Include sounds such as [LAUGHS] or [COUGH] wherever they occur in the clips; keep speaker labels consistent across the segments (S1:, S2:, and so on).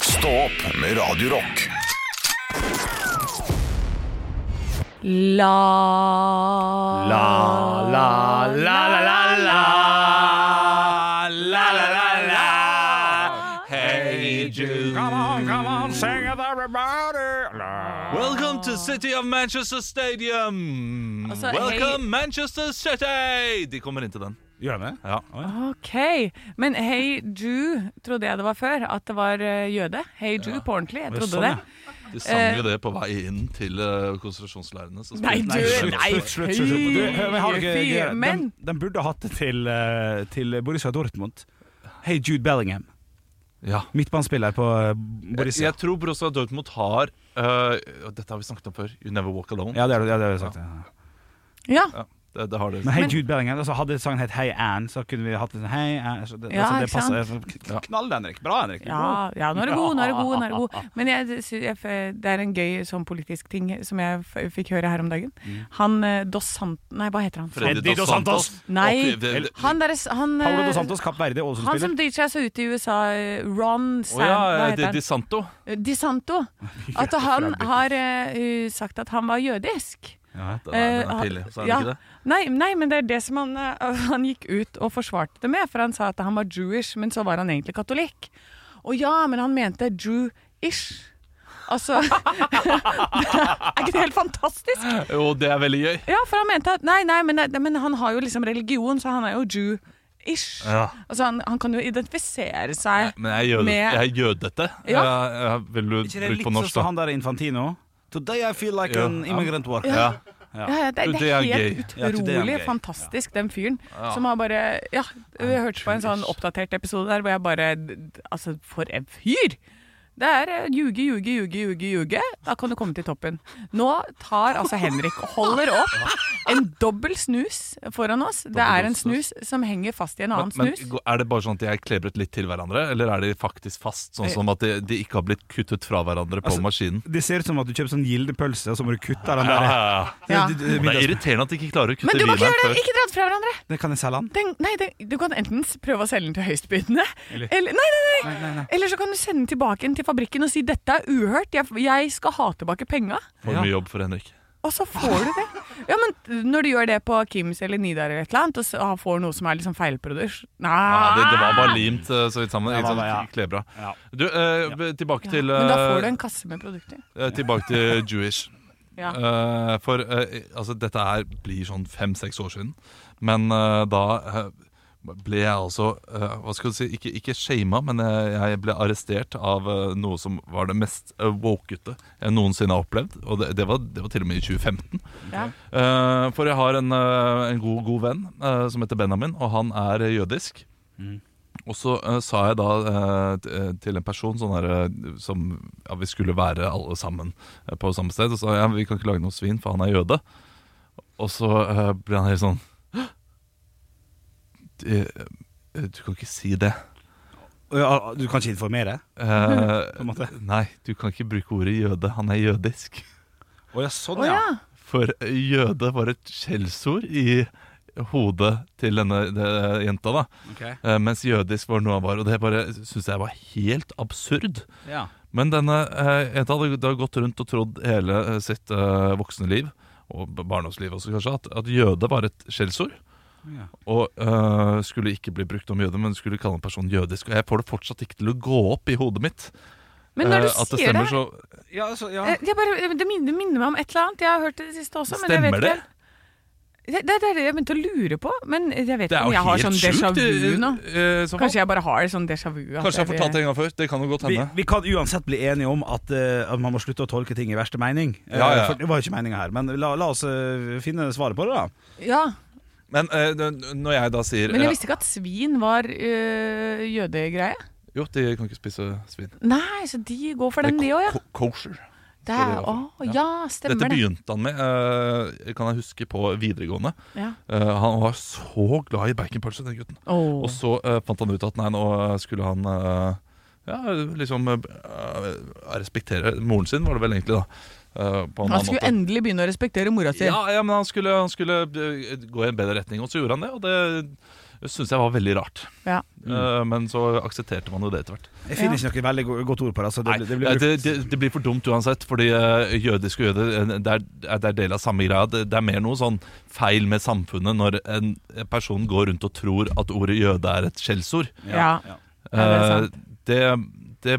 S1: Stå opp med Radio Rock.
S2: La
S3: La, Ah, la, la, la, la, la. La, la, la, la. Hey, Jude. Welcome to City of Manchester Stadium.
S2: Altså,
S3: Welcome,
S2: hey-
S3: Manchester City! De kommer inn til den.
S4: Gjør han det?
S3: Ja.
S2: Ok, men Hey Jew trodde jeg det var før, at det var eh, jøde. Hey Jew på ordentlig, jeg
S4: Det er
S2: trodde
S4: sånn,
S2: det.
S4: ja.
S3: De sang jo det på vei inn til eh, konsentrasjonsleirene. så
S2: Eh. Nei,
S3: spilte
S2: du,
S3: de-
S2: nei,
S4: Slutt, slutt, slutt, slutt. Du, hør, men har dere
S2: fy,
S4: greier?
S2: men-
S4: De, de burde hatt det til, eh, til Borussia Dortmund. Hei, Jude Bellingham.
S3: Ja.
S4: Midtbanespiller på eh, Borussia.
S3: Jeg tror Borussia Dortmund har eh, og Dette har vi snakket om før. You Never Walk Alone.
S4: Ja, det har du- ja, det har vi sagt. Ja.
S2: Ja,
S3: Ja, det, det har det.
S4: Men Hei Jude Bellingham, altså hadde sangen hett Hei Ann, så kunne vi hatt en Hei Ann så det,
S2: Ja,
S4: altså, det
S2: ikke
S4: passer.
S2: sant?
S4: Kn- kn- Knall, Henrik. Bra, Henrik.
S2: ja, ja, nå er det god, nå er det god, nå er det god. Men jeg, sy- jeg, f- det er en gøy sånn politisk ting som jeg f fikk høre her om dagen. Han eh, Dos Sant... Nei, hva heter han?
S3: Freddy
S4: Freddy
S3: Dos
S4: Dos Santos.
S3: Santos.
S2: Nei,
S3: Og det- det-
S2: han derre s- han, eh,
S4: Paolo Dos Santos, Kapp Verde,
S2: han som
S4: Ålesund-spiller.
S2: driter seg så ut i USA, eh, Ron
S3: Å
S2: Sam, hva
S3: ja,
S2: heter
S3: det
S2: han?
S3: Di Santo.
S2: Eh, Di
S3: [LAUGHS]
S2: Santo. At han har eh, sagt at han var jødisk.
S4: Ja.
S3: Den er, den
S2: Eh,
S3: er
S2: han-
S3: pillig, så er
S2: ja.
S3: den ikke det?
S2: Nei, nei, men det er det som han, eh, [LAUGHS] han gikk ut og forsvarte det med. For han sa at han var Jewish, men så var han egentlig katolikk. Og ja, men han mente Jew-ish. Altså [LAUGHS] Er ikke det helt fantastisk?
S3: Jo, det er veldig gøy.
S2: Ja, for han mente at Nei, nei, men, det- men han har jo liksom religion, så han er jo Jew-ish.
S3: Ja.
S2: Altså, han, han kan jo identifisere seg
S3: Men jeg er, jød,
S2: Med-
S3: jeg er jødete.
S2: Ja.
S3: Jeg, jeg vil du
S4: Ikke det
S3: bruke
S4: er
S3: på
S4: litt sånn
S3: norsk,
S4: som
S3: da?
S4: han der Infantino? Today I feel like
S3: Ja.
S4: an immigrant worker.
S3: Ja.
S2: Ja, ja, det,
S3: Du,
S2: det
S3: det
S2: er
S3: er
S2: helt
S3: gøy.
S4: Ja, du, det er
S2: utrolig
S4: gøy.
S2: fantastisk, den fyren som har bare Ja, vi hørte på en sånn oppdatert episode der hvor jeg bare d- d- Altså, for en fyr! Det er eh, ljuge, ljuge, ljuge, ljuge, ljuge. Da kan du komme til toppen. Nå tar altså Henrik og holder opp en dobbel snus foran oss. Det er en snus som henger fast i en annen
S3: Men,
S2: snus.
S3: men Er det bare sånn at de er klebret litt til hverandre, eller er de faktisk fast?
S2: Eh.
S3: Sånn som at de, de ikke har blitt kuttet fra hverandre på
S4: Altså,
S3: maskinen?
S4: Det ser ut som at du kjøper sånn gildepølse, og så må du kutte den
S3: Ja,
S4: der.
S3: ja, ja.
S2: Ja.
S4: Det- det- det-
S3: Ah, Det er irriterende at de ikke klarer å kutte
S2: Men du må ikke
S3: vineren
S2: gjøre det!
S3: før.
S2: Ikke dra det fra hverandre!
S4: Det kan jeg selge den.
S2: Den, nei, den, du kan enten s- prøve å selge den til høyestbydende, eller,
S4: Eller-
S2: nei, nei, nei. eller så kan du sende den tilbake den til fabrikken og si dette er uhørt, jeg, jeg skal ha tilbake penga.
S3: For mye jobb for Henrik.
S2: Og så får du det. Ja, men når du gjør det på Kims eller Nidar eller et eller annet, og så får noe som er liksom feilprodukt Nei!
S3: Ja, det, det var bare limt eh, så vidt sammen.
S4: Ja,
S3: Ikke
S4: det var
S3: sånn
S4: bare, ja.
S3: klebra.
S4: Ja.
S3: Du, eh, b- tilbake til
S2: Men da
S3: eh,
S2: får du en kasse med produkter.
S3: eh, Tilbake til Jewish.
S2: Ja.
S3: Eh, for eh, altså, dette her blir sånn fem-seks år siden. Men eh, da eh, ble jeg altså eh, Hva skal du si? Ikke, ikke shama, men eh, jeg ble arrestert av eh, noe som var det mest uh, wokete jeg noensinne har opplevd. Og det, det, var, det var til og med i 2015.
S2: Ja.
S3: Eh, for jeg har en, eh, en god, god venn eh, som heter Benjamin, og han er eh, jødisk.
S4: Mm.
S3: Og så eh, sa jeg da eh, t- eh, til en person sånn her, eh, som ja, vi skulle være alle sammen eh, på samme sted, og sa ja, vi kan ikke lage noe svin, for han er jøde. Og så eh, ble han helt sånn «Hå? Det- eh, Du kan ikke si det.
S4: Ja, Du kan ikke informere? [LAUGHS]
S3: Eh,
S4: en måte.
S3: nei, du kan ikke bruke ordet jøde. Han er jødisk.
S4: Å ja, sånn,
S2: Å ja.
S3: For jøde var et skjellsord i hodet til denne de, jenta, da.
S4: Ok.
S3: Eh, mens jødisk var noe han var. Og det bare syns jeg var helt absurd.
S4: Ja.
S3: Men denne eh, jenta hadde da gått rundt og trodd hele eh, sitt eh, voksne liv, og b- barndomsliv også kanskje, at, at jøde var et skjellsord.
S4: Ja.
S3: Og eh, skulle ikke bli brukt om jøde, men skulle kalle en person jødisk. Og jeg får det fortsatt ikke til å gå opp i hodet mitt.
S2: Men når du
S3: eh, at det
S2: sier det,
S3: stemmer, så
S4: Ja, altså, ja.
S2: eh, jeg bare, det minner, det minner meg om et eller annet. Jeg har hørt det det siste også. Men jeg vet
S3: Stemmer
S2: ikke
S3: det?
S2: helt- Det, det er det jeg begynte å lure på, men jeg vet
S3: Det
S2: ikke om
S3: er jo
S2: jeg har
S3: helt
S2: sånn déjà
S3: sjukt.
S2: vu
S3: eh,
S2: nå.
S3: eh, i så fall.
S2: Kanskje jeg bare har sånn déjà vu. at
S3: Kanskje jeg har fortalt det en gang før. Det kan jo godt
S4: Vi,
S3: hende.
S4: vi kan uansett bli enige om at, eh, at man må slutte å tolke ting i verste mening. Eh,
S3: Ja, ja.
S4: For det var jo ikke meninga her, men la, la oss eh, finne svaret på det, da.
S2: Ja,
S3: Men eh, n- når jeg da sier
S2: Men
S3: eh,
S2: jeg visste ikke at svin var øh, jødegreie.
S3: Jo, de kan ikke spise svin.
S2: Nei, så de går for den, de òg, ja.
S3: ko- kosher.
S2: Det
S3: det
S2: er,
S3: i hvert
S2: å,
S3: fall.
S2: ja,
S3: Dette
S2: stemmer det.
S3: begynte han med, eh, kan jeg huske, på videregående.
S2: Ja.
S3: Eh, han var så glad i baconpølse, den gutten.
S2: Åh.
S3: Og så eh, fant han ut at nei, nå skulle han eh, ja, liksom eh, respektere moren sin, var det vel egentlig, da. eh, på en
S2: Han
S3: annen
S2: skulle
S3: måte.
S2: endelig begynne å respektere mora si.
S3: Ja, ja, men han skulle, han skulle eh, gå i en bedre retning, og så gjorde han det. Og det Det syns jeg var veldig rart.
S2: Ja.
S3: Eh, men så aksepterte man jo det etter hvert.
S4: Jeg finner ikke noe veldig go- godt ord på det. Altså, det,
S3: Nei,
S4: det blir brukt.
S3: det, det, det blir for dumt uansett, fordi eh, jødisk og jøde eh, det er, det er del av samme greia. Det, det er mer noe sånn feil med samfunnet når en en person går rundt og tror at ordet jøde er et skjellsord.
S2: Ja. Ja, det er sant.
S3: Eh, det, det,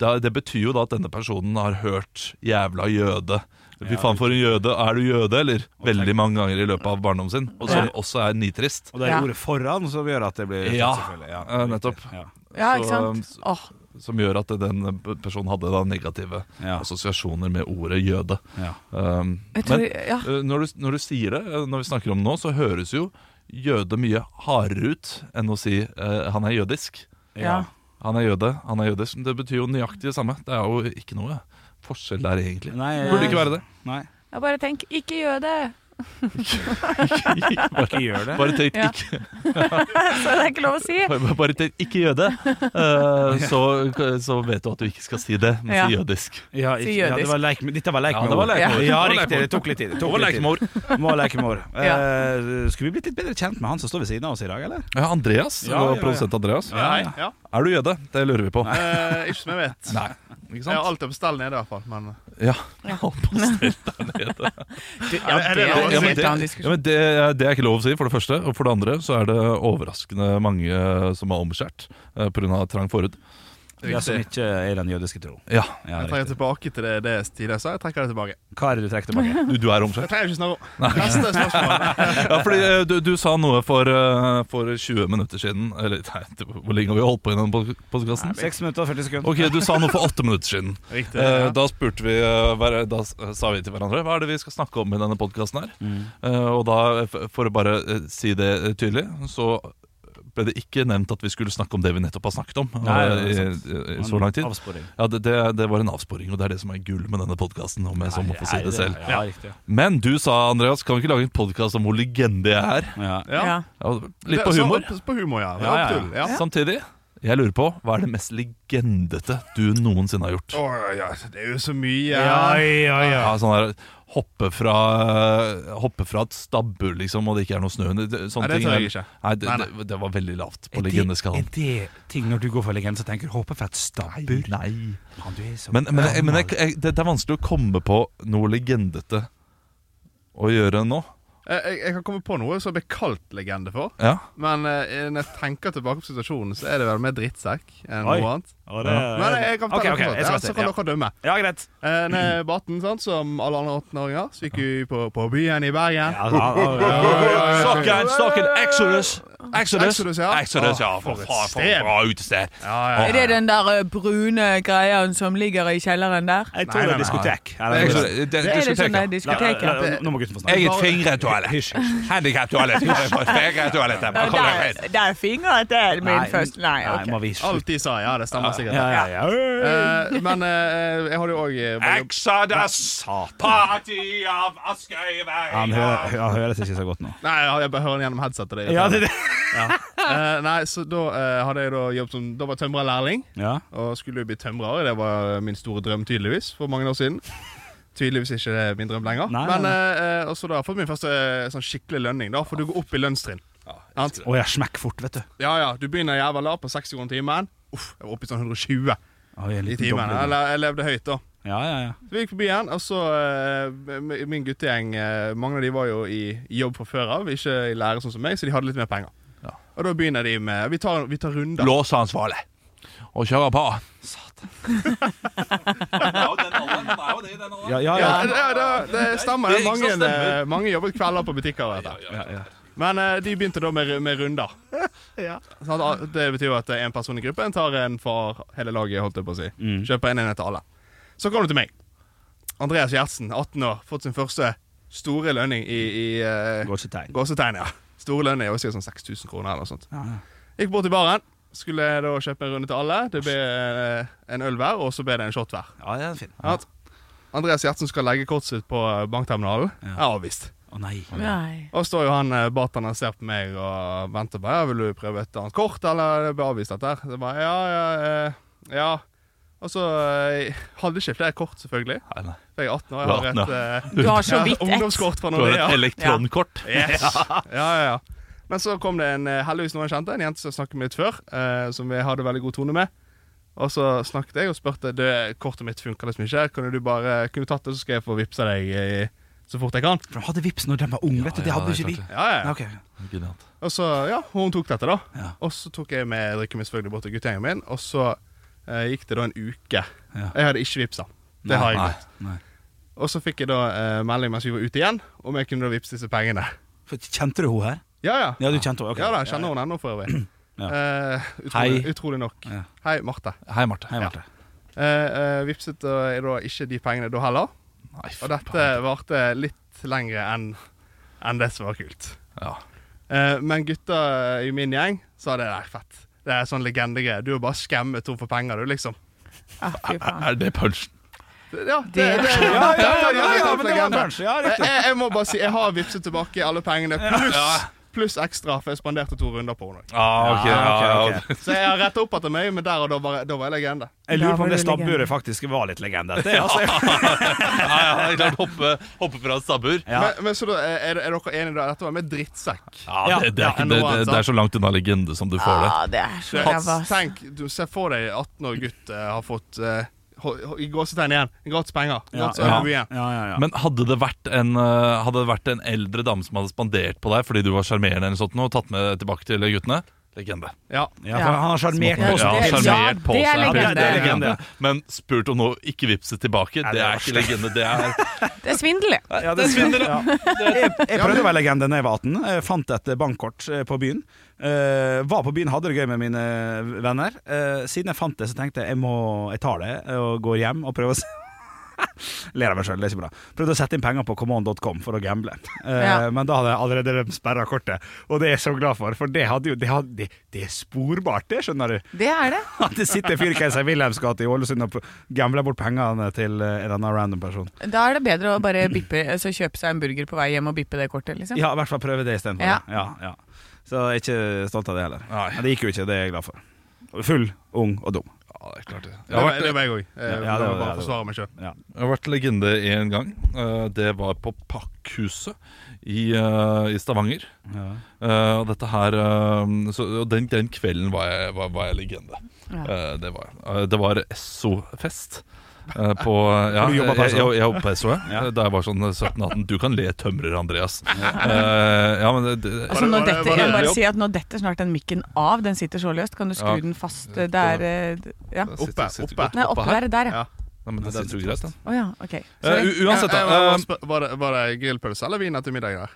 S3: det, det betyr jo da at denne personen har hørt 'jævla jøde'. Fy
S4: Ja.
S3: faen for en jøde. Er du jøde, eller?
S4: Og tenk-
S3: Veldig mange ganger i løpet av barndommen sin. Og som
S2: Ja.
S3: også er nitrist.
S4: Og det er
S2: Ja.
S4: ordet foran som gjør at det blir
S3: Ja,
S4: selvfølgelig,
S3: eh, nettopp.
S4: Ja.
S2: ja, ikke
S3: så, um,
S2: sant? Åh,
S3: Som gjør at den personen hadde da negative
S4: Ja.
S3: assosiasjoner med ordet jøde.
S4: Ja.
S3: Um,
S2: jeg
S3: men
S2: tror, ja.
S3: eh, når, du, når du sier det, eh, når vi snakker om det nå, så høres jo jøde mye hardere ut enn å si eh, 'han er jødisk'.
S2: Ja.
S3: Han er jøde, han er jødisk. Men Det betyr jo nøyaktig det samme. Det er jo ikke noe forskjell der, egentlig.
S4: Nei,
S3: Det burde ikke være det.
S4: Nei,
S2: Jeg bare tenk, ikke gjør det!
S4: ikke gjør det.
S3: Bare tenk
S2: Ja.
S3: ikke, [LAUGHS]
S2: Så det er ikke lov å si.
S3: bare- bare tenk, ikke jøde, Eh, så, så vet du at du ikke skal si det, men si
S2: Ja.
S3: jødisk.
S4: Ja, ikke,
S2: Si
S4: ja, det
S2: jødisk.
S4: var leik, med- dette var leik
S3: Ja,
S4: med
S3: det var
S4: ord.
S3: leik med ord.
S4: Ja,
S3: Det var leik
S4: riktig.
S3: med
S4: Det tok litt tid. Det tok litt tid.
S3: Leikmor.
S4: Må leke [LAUGHS] med ord.
S2: Ja.
S4: Eh, skulle vi blitt litt bedre kjent med han som står ved siden av oss i dag, eller?
S3: Ja, Andreas,
S5: Ja,
S3: og
S4: ja, ja.
S3: produsent Andreas.
S5: Ja, hei. Ja.
S3: Er du jøde? Det lurer vi på.
S5: Eh, ikke som jeg vet.
S3: Nei. Ikke
S5: Jeg har
S3: sant?
S5: alt om stell nede, i hvert fall. Men
S3: Ja.
S2: Ja.
S5: ja, er det
S2: det
S5: lov å
S2: er
S3: Ja,
S2: en
S5: si?
S3: men
S2: helt annen
S3: det, ja,
S2: diskusjon.
S3: men det, det er ikke lov å si, for det første. Og for det andre så er det overraskende mange som er omskjært eh, på grunn av trang forhud.
S4: Ja, som ikke er den jødiske tro.
S3: Ja,
S4: Ja,
S5: Jeg trekker
S4: riktig.
S5: tilbake til det, det Stine sa. Jeg trekker det tilbake.
S4: Hva er det du trekker [LAUGHS] tilbake?
S3: du, du er
S5: Det
S3: omskjært.
S5: trenger jeg ikke snakke om. Neste
S3: [LAUGHS]
S5: spørsmål.
S3: Ja, fordi eh, du, du sa noe for, eh, for 20 minutter siden Eller [LAUGHS] nei, det- hvor lenge har vi holdt på i denne podkasten?
S4: Seks minutter og 40 sekunder.
S3: Ok, du sa noe for åtte minutter siden.
S5: Riktig.
S3: Eh,
S5: Ja.
S3: Da spurte vi eh, hver- Da s- sa vi til hverandre hva er det vi skal snakke om i denne podkasten her.
S4: Mm.
S3: Eh, Og da, eh, f- for å bare eh, si det eh, tydelig, så ble det ikke nevnt at vi skulle snakke om det vi nettopp har snakket om.
S4: Nei,
S3: eh,
S4: det er sant.
S3: i, i, i så lang tid
S4: Avsporing.
S3: ja, det, det, det var en avsporing, og det er det som er gull med denne podkasten. Om jeg så må få si
S4: Nei,
S3: det selv.
S4: Ja, riktig.
S3: Men du sa, Andreas, kan vi ikke lage en podkast om hvor legende jeg er?
S4: Ja.
S5: Ja.
S2: Ja.
S3: Ja, litt på
S5: Det- så-
S3: humor.
S5: På, på humor, ja.
S4: Ja, ja, ja.
S5: Opptull, ja.
S3: Samtidig, jeg lurer på hva er det mest legendete du noensinne har gjort?
S5: Å, ja, det er jo så mye. Eh,
S4: Ja,
S5: Ah,
S4: ja, ja.
S3: Ja, sånn der, hoppe, fra, hoppe fra et stabbull, liksom, og det ikke er noe snø under. Det- Sånne
S5: Nei, det
S3: ting
S5: tør
S3: er-
S5: jeg ikke.
S3: Nei, det,
S5: Nei, nei.
S3: Det, det var veldig lavt på
S4: Er det-
S3: legendeskalaen.
S4: Er det ting når du går for legende, så tenker du 'håper for et stabbur'?
S3: Nei.
S4: Faen, du er så
S3: Men, men, jeg,
S4: gammel.
S3: men jeg, jeg, det, det er vanskelig å komme på noe legendete å gjøre nå.
S5: Jeg, jeg- jeg kan komme på noe som jeg ble kalt legende for.
S3: Ja.
S5: Men eh, når jeg tenker tilbake på situasjonen, så er det vel mer drittsekk enn
S4: Oi.
S5: noe annet.
S4: Å, det er-
S5: Men jeg kan
S4: Ok,
S5: fortelle
S4: ok,
S5: dere
S4: jeg
S5: først,
S4: skal
S5: ja,
S4: se,
S5: så kan
S4: ja.
S5: dere dømme.
S4: Ja, greit.
S5: Eh, Når jeg var 18, sant, som alle andre 18-åringer, så gikk vi på, på byen i Bergen.
S4: Ja, ja, ja, ja.
S3: Sokken, sokken, Exodus! Exodus,
S5: Eh, Exodus, ja. Ah,
S3: Exodus, ja. For
S5: for et
S3: faen, for
S5: sted.
S3: et bra utested.
S5: Ja,
S2: Er det den der eh, brune greia som ligger i kjelleren der?
S4: Jeg tror
S5: Nei,
S4: det er
S5: nei, nei.
S4: diskotek. Ja, det er
S3: Exodus,
S4: diskotek.
S3: det- det-
S2: Er det
S3: diskotek,
S2: sånn
S3: ja.
S2: der diskotek? ja?
S4: Nei, nei, nå må gutten få snakke.
S3: Eget fingertoalett. Handikaptoalett.
S5: [LAUGHS]
S3: Fingertoalett.
S2: Ja, Der, der er fingeren til min
S4: Nei,
S2: først. Nei, ok.
S4: må vi slutte?
S5: Alt de sa. Ja, det stemmer sikkert.
S4: Ja, ja, ja.
S5: Eh, men eh, jeg hadde jo òg
S3: Exodus, party av Askøy
S4: Han, hører, han høres ikke så godt nå.
S5: Nei, jeg- jeg bare hører den gjennom headsetet. Det, er
S4: Ja, det, det.
S5: irriterende. Eh, nei, så da eh, hadde jeg da jobb som Da var jeg tømrerlærling,
S4: Ja.
S5: og skulle jo bli tømrer. Det var min store drøm, tydeligvis, for mange år
S4: [LAUGHS]
S5: siden. Tydeligvis ikke det er min drøm lenger.
S4: Nei, nei,
S5: men eh, eh, og så da har jeg fått min første eh, sånn skikkelig lønning, da, for du går opp i lønnstrinn. Sant?
S4: Å, jeg smekk fort, vet du.
S5: Ja, ja, du begynner jævla lavt på 60 kroner timen. Uff, jeg var oppe i sånn 120
S4: Oi, en
S5: i
S4: liten
S5: timen.
S4: dobling.
S5: Eller jeg levde høyt, da.
S4: Ja, ja, ja.
S5: Så vi gikk på byen, og så eh, m- Min guttegjeng, eh, mange av de var jo i i jobb fra før av, ikke i lære sånn som meg, så de hadde litt mer penger.
S3: Ja.
S5: Og da begynner de med Vi tar, vi tar runder.
S3: Låsansvarlig. Og kjøre på. Satan.
S4: ja,
S5: Ja,
S4: ja, ja.
S5: det, det, det stemmer. Det er
S3: Det er ikke
S5: mange,
S3: så stemmer.
S5: eh, mange jobbet kvelder på butikker. Vet jeg. Men eh, de begynte da med, med runder. Sånn at Det betyr jo at en person i gruppen tar en for hele laget, holdt jeg på å si. Kjøper en enhet til alle. Så kommer du til meg. Andreas Gjertsen, 18 år, fått sin første store lønning i, i eh,
S4: Går ikke tegn.
S5: gåsetegn. ja. Store lønn er jo sikkert sånn 6000 kroner eller noe sånt.
S4: Ja, ja.
S5: Gikk bort til baren. Skulle da kjøpe en runde til alle. Det ble eh, en øl hver, og så ble det en shot hver.
S4: ja, det er fin. Å
S5: Ja. Andreas Gjertsen skal legge kortet sitt på eh, bankterminalen.
S4: Ja.
S5: Jeg er avvist.
S4: nei.
S2: Nei.
S5: Og står jo han eh, bartenderen og ser på meg og venter på ja, 'Vil du prøve et annet kort, eller det blir avvist dette her?' Så jeg bare, ja, ja, eh, ja. Og så eh, hadde jeg ikke flere kort, selvfølgelig. For jeg er 18 år. Jeg har
S3: Du er
S5: et eh,
S2: Du har så
S5: ja,
S2: vidt ett.
S5: ungdomskort fra
S3: Du har
S5: Nordea.
S3: et elektronkort.
S5: Yes. Ja, ja, ja. Men så kom det en, eh, heldigvis noen jeg kjente, en jente som jeg snakket med litt før, eh, som vi hadde veldig god tone med. Og så snakket jeg og spurte det kortet mitt funker liksom ikke. Kunne du bare, kunne du tatt det, så skal jeg få vippsa deg eh, så fort jeg kan?
S4: For de hadde vips når de var unge, vet du.
S3: Ja,
S4: Det hadde
S3: ja,
S4: ikke vi.
S3: klart
S5: Ja, ja.
S4: Nei, ok.
S3: Genialt.
S5: Og så, ja, hun tok dette da
S4: Ja.
S5: Og så tok jeg med drikken min selvfølgelig bort til guttegjengen min Og så eh, gikk det da en uke
S4: Ja.
S5: Jeg hadde ikke vipsa Det
S4: Nei,
S5: har jeg
S4: nei,
S5: ikke
S4: nei.
S5: Og så fikk jeg da eh, melding mens vi var ute igjen Om jeg kunne da vipse disse pengene
S4: For, kjente du henne her?
S5: Ja, ja
S4: Ja, du kjente henne. ok.
S5: Ja da, jeg kjenner hun ennå for øvrig
S4: Ja.
S5: Eh, utrolig,
S4: Hei.
S5: utrolig nok
S4: Ja.
S5: Hei, Marte
S3: Hei, Marte.
S4: Hei, Marte.
S5: Eh, eh, Vipset da, jeg da ikke de pengene da heller
S3: Nei,
S5: Og
S3: for
S5: dette
S3: faen.
S5: varte litt lengre enn enn det som var kult
S3: ja.
S5: Eh, men gutta i min gjeng sa det der fett. Det er sånn legendegreie. Du er bare skammet henne for penger, du, liksom.
S2: Ja, Ah, fy faen.
S3: Er det punchen?
S5: Ja, det,
S2: Det-
S5: det-
S4: [LAUGHS] Ja, ja, ja, ja,
S5: det-
S4: ja, men
S5: det-
S4: det var
S5: legende.
S4: bransje. Ja,
S5: jeg,
S4: riktig.
S5: jeg- jeg må bare si jeg har vippset tilbake alle pengene,
S3: Ja.
S5: pluss pluss ekstra, for jeg spanderte to runder på henne. også.
S3: Ah, ok, [LAUGHS] ja,
S4: Ja, ok,
S3: ja.
S5: Så jeg har retta opp etter meg, men der og da var, jeg- da var jeg legende.
S4: Jeg lurer
S2: Da
S4: på om
S2: var
S4: det
S2: du legende.
S4: stabburet faktisk var litt legendete. Altså.
S3: ja, ja, det er klart, hoppe, hoppe fra et stabbur.
S4: Ja.
S5: Men, men så da, er, er dere enige da? Dette var med drittsekk.
S3: Ja, det, det, er,
S5: Ja,
S3: ikke-
S5: enn
S3: det,
S5: noe
S3: det,
S5: annet,
S3: det er så langt unna legende som du får det.
S2: Ja, Ah, det er så ræva. ass.
S5: Tenk, du ser for deg 18 år gutt eh, har fått eh, ho- ho- i gåsetegn igjen. Gratis penger. Gratis
S4: ja,
S5: øl i
S4: ja,
S5: byen.
S4: ja, ja.
S3: Men hadde det, vært en, eh, hadde det vært en eldre dame som hadde spandert på deg fordi du var sjarmerende, eller sånt noe, og tatt med tilbake til guttene? Legende.
S5: Ja.
S4: Ja, for han har sjarmert
S2: Ja,
S4: oss.
S2: det-
S4: til-
S2: ja,
S3: sjarmert på
S2: det er
S3: seg.
S2: legende.
S3: Ja, det er legende.
S4: Ja.
S3: Men spurt om noe, ikke vippset tilbake.
S4: Nei,
S3: Det
S4: det
S3: er
S4: er
S3: ikke legende. Det er [LAUGHS]
S2: Det er svindel, det.
S4: Ja, det svinner ja. Jeg, jeg prøvde å være legende da jeg var 18. Jeg fant et bankkort eh, på byen. Eh, var på byen, hadde det gøy med mine venner. Eh, siden jeg fant det, så tenkte jeg jeg, må, jeg tar det og går hjem og prøver å se- [LAUGHS] Ler av meg sjøl, det er ikke bra. Prøvde å sette inn penger på common.com for å gamble. Eh,
S2: Ja.
S4: Men da hadde jeg allerede sperra kortet, og det er jeg så glad for. For det, hadde jo, det, hadde, det, det er sporbart, det, skjønner du. [LAUGHS]
S2: Det er det.
S4: At det sitter en fyr i Keiser Wilhelms gate i Ålesund og pr- gambler bort pengene til eh, en eller annen random person.
S2: Da er det bedre å bare bippe, altså kjøpe seg en burger på vei hjem og bippe det kortet, liksom.
S4: Ja, i hvert fall prøve det istedenfor.
S2: Ja.
S4: Ja. Ja, ja. Så jeg er ikke stolt av det heller.
S3: Nei.
S4: Men det gikk jo ikke, det er jeg glad for. Full, ung og dum.
S3: Ja, det er klart det.
S5: Det
S3: Jeg har
S5: var,
S3: vært,
S5: det var jeg òg.
S4: Ja,
S5: Jeg
S4: ja, det
S5: må
S4: var- ja,
S5: bare
S4: det
S5: forsvare meg sjøl.
S4: Ja.
S3: jeg har vært legende én gang. Eh, Det var på Pakkhuset i, eh, i Stavanger.
S4: Ja.
S3: Eh, og dette her eh, så, og den, den kvelden var jeg, var, var jeg legende. Eh, det var jeg. Eh, det var SO-fest. eh, [LAUGHS] på, ja,
S4: For du jobbet på
S3: jeg,
S4: SO?
S3: jeg, jeg jobbet på SO, ja.
S4: Ja.
S3: Da jeg var sånn 17-18. Du kan le tømrer, Andreas. Eh, ja, men det, det,
S2: Altså,
S5: Var det-
S2: nå
S5: var
S2: detter,
S5: det- var
S2: jeg
S5: det-
S2: må bare si at nå detter snart den mikken av. Den sitter så løst. Kan du skru
S3: Ja.
S2: den fast? Det er eh, Ja.
S3: Den sitter-
S5: Oppe,
S3: sitter
S5: oppe.
S3: godt
S2: Nei, oppe
S3: her.
S2: der. Der, ja.
S5: Ja.
S3: Nei, men det
S4: Den
S3: sitter jo
S4: sitter
S3: greit, den.
S2: Å ja, ok.
S3: Eh,
S2: Sorry.
S3: u- uansett,
S5: Jeg- jeg må
S3: da.
S5: bare spørre, var, det, var det grillpølse eller vin etter middag der?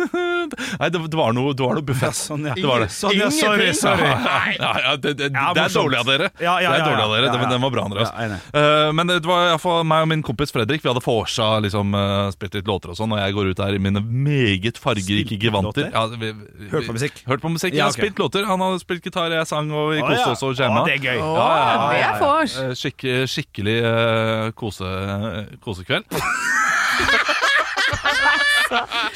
S3: Nei, det, det var noe, det var noe buffett.
S4: Sånn, [LAUGHS] ja.
S3: Det var det.
S4: Sånn, ja, sorry, sorry.
S3: Ja, ja, det, det,
S4: Ja,
S3: det er
S4: morsomt.
S3: dårlig av dere.
S4: Ja, ja,
S3: det er
S4: ja,
S3: dårlig av
S4: ja.
S3: dere.
S4: Ja, ja.
S3: Den, den var bra, Andreas.
S4: Ja, enig.
S3: Eh, men det var i hvert fall meg og min kompis Fredrik. Vi hadde vorsa, liksom, eh, spilt litt låter og sånn, og jeg går ut der i mine meget fargerike
S4: Spilt
S3: gevanter.
S4: låter?
S3: Ja, vi- vi-
S4: Hørt på musikk?
S3: Hørt på musikk,
S4: Ja,
S3: ja,
S4: ok.
S3: Spilt låter. Han hadde spilt gitar, jeg sang, og vi
S4: Å,
S3: koste
S4: ja.
S3: oss og jamma.
S4: Å, Det er gøy.
S2: Å,
S3: ja, ja,
S2: det
S4: ja,
S2: er vors!
S3: Eh, Skikk, skikkelig eh, kose,
S4: [LAUGHS]
S3: kosekveld.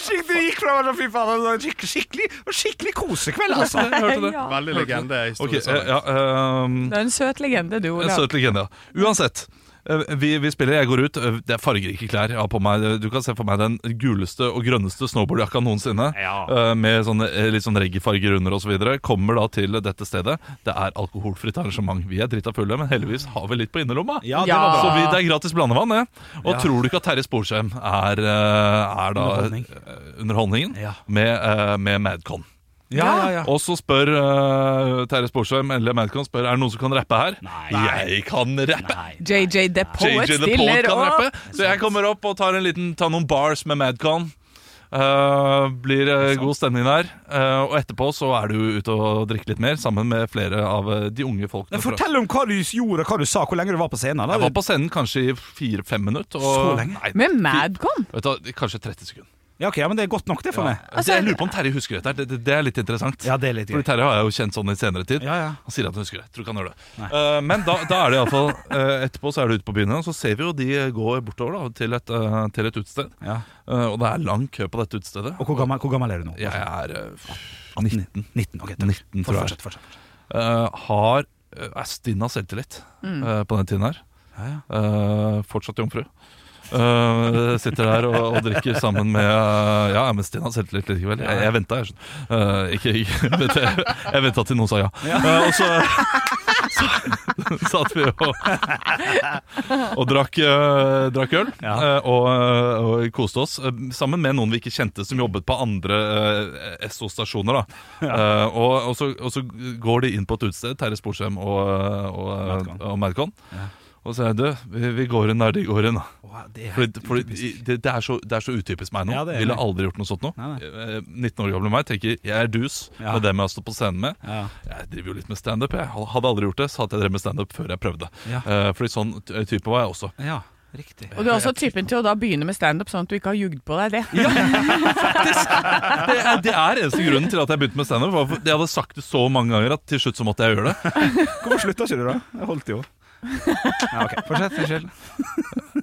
S4: Skikkelig, du gikk fra hverandre, fy faen. det var Skikkelig, skikkelig, skikkelig kosekveld, altså.
S3: Hørte det?
S2: Ja.
S5: Veldig legende
S3: Ok,
S5: historie.
S3: eh, ja, ehm,
S2: Du er en søt legende, du,
S3: En
S2: Olav.
S3: søt legende, ja. Uansett. eh, Vi, vi spiller, jeg går ut. eh, Det er fargerike klær jeg har på meg. eh, Du kan se for meg den guleste og grønneste snowboardjakka noensinne.
S4: Ja.
S3: eh, Med sånne, eh, litt sånn reggaefarger under osv. Kommer da til dette stedet. Det er alkoholfritt arrangement. Vi er drita fulle, men heldigvis har vi litt på innerlomma.
S4: Ja, det
S2: Ja.
S4: var
S3: Så
S4: bra.
S3: vi, det er gratis blandevann, det. Og
S4: Ja.
S3: tror du ikke at Terje Sporsem er, eh, er da
S4: Underholdning.
S3: eh, underholdningen
S4: Ja.
S3: med, eh, med Madcon?
S4: Ja, ja, ja.
S3: Og så spør eh, Terje Sporsem eller Madcon spør, er det noen som kan rappe her.
S4: Nei.
S3: Jeg kan rappe!
S2: JJ The Poet
S3: JJ The Poet
S2: stiller
S3: kan
S2: opp!
S3: rappe. Så jeg kommer opp og tar, en liten, tar noen bars med Madcon. Eh, blir
S4: Sånn.
S3: eh, god stemning der. Eh, og etterpå så er du ute og drikker litt mer sammen med flere av eh, de unge folkene.
S4: Men
S3: fra-
S4: Fortell om hva du gjorde, hva du sa, hvor lenge du var på scenen. Da.
S3: Jeg var på scenen kanskje i fire-fem minutter. Og,
S4: Så lenge?
S3: Nei,
S2: Med Madcon!
S3: vet du, hva, kanskje 30 sekunder.
S4: Ja, ok, ja, men det er godt nok, det, for
S3: Ja.
S4: meg.
S2: Altså,
S3: det, jeg lurer på om Terje husker dette. her. Det, det, det er litt interessant.
S4: Ja, det er litt gøy.
S3: Fordi Terje har jeg jo kjent sånn i senere tid.
S4: Ja, ja.
S3: Han sier at han husker det. Tror ikke han gjør det. Eh, men da, da er det iallfall uh, Etterpå så er det ute på byen, og så ser vi jo de gå bortover da, til et, eh, til et utested.
S4: Ja.
S3: Eh, og det er lang kø på dette utestedet.
S4: Og hvor gammel, hvor gammel er du nå?
S3: Jeg er eh, 19.
S4: 19, ok, takk.
S3: 19, tror jeg.
S4: Fortsett, fortsett.
S3: eh, har eh, er stinn av selvtillit eh, på den tiden her.
S4: Ja, ja.
S3: Eh, fortsatt jomfru. Eh, sitter der og, og drikker sammen med eh, Ja, men Sten har selvtillit likevel. Jeg, jeg venta, jeg. skjønner. Eh, ikke, [LAUGHS] ikke, vet jeg jeg venta til noen sa ja. Eh, og så, så satt vi og, og drakk, eh, drakk øl
S4: Ja.
S3: eh, og, eh, og koste oss. eh, sammen med noen vi ikke kjente, som jobbet på andre eh, SO-stasjoner. da Eh, og, og, så, og så går de inn på et utested, Terje Sporsem og, eh, og,
S4: Madcon.
S3: og Madcon. Og så sier jeg du, vi, vi går inn der de går inn. da
S4: Åh, det er helt
S3: fordi, fordi
S4: utypisk.
S3: det, det, er så, det er så utypisk meg nå.
S4: Ja, det er
S3: Ville
S4: det.
S3: aldri gjort noe sånt nå.
S4: Nei,
S3: Eh, 19 år gamle meg tenker jeg er dus
S4: Ja.
S3: med dem jeg har stått på scenen med.
S4: Ja.
S3: Jeg driver jo litt med standup. Jeg hadde aldri gjort det, så hadde jeg drevet med standup før jeg prøvde.
S4: Ja.
S3: Eh, fordi sånn t- type var jeg også.
S4: ja, riktig.
S2: Og du er også typen til å da begynne med standup sånn at du ikke har jugd på deg det.
S3: Det er, det er eneste grunnen til at jeg begynte med standup. var for- Jeg hadde sagt det så mange ganger at til slutt så måtte jeg gjøre det.
S4: Hvorfor slutta ikke du, da? Jeg holdt jo. Ja, ok, Fortsett. Unnskyld.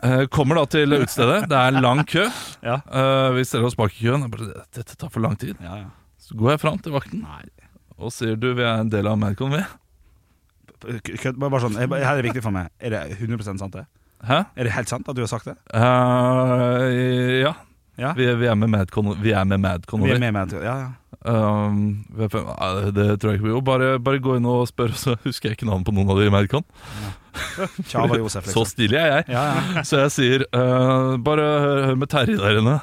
S3: Eh, Kommer da til utestedet. Det er lang kø.
S4: Ja.
S3: Eh, Vi stiller oss bak i køen. Jeg bare, Dette tar for lang tid.
S4: Ja, ja.
S3: Så går jeg fram til vakten og sier du, vi er en del av Madcon, vi.
S4: Kødd, bare, bare sånn, jeg, bare- her er det viktig for meg. Er det 100 sant, det?
S3: Hæ?
S4: Er det helt sant at du har sagt det?
S3: Eh, ja.
S4: Ja.
S3: Vi, vi er med Madcon. Vi er med Madcon
S4: Vi
S3: vi.
S4: er med med en tur. Ja, ja.
S3: Um, vi er fem- eh, det tror jeg ikke blir jo. Bare, bare gå inn og spør, så husker jeg ikke navnet på noen av de i Madcon.
S4: Tjava Josef,
S3: Så
S4: liksom.
S3: stilig er jeg.
S4: Ja, ja.
S3: Så jeg sier eh, bare hør, hør med Terje der inne.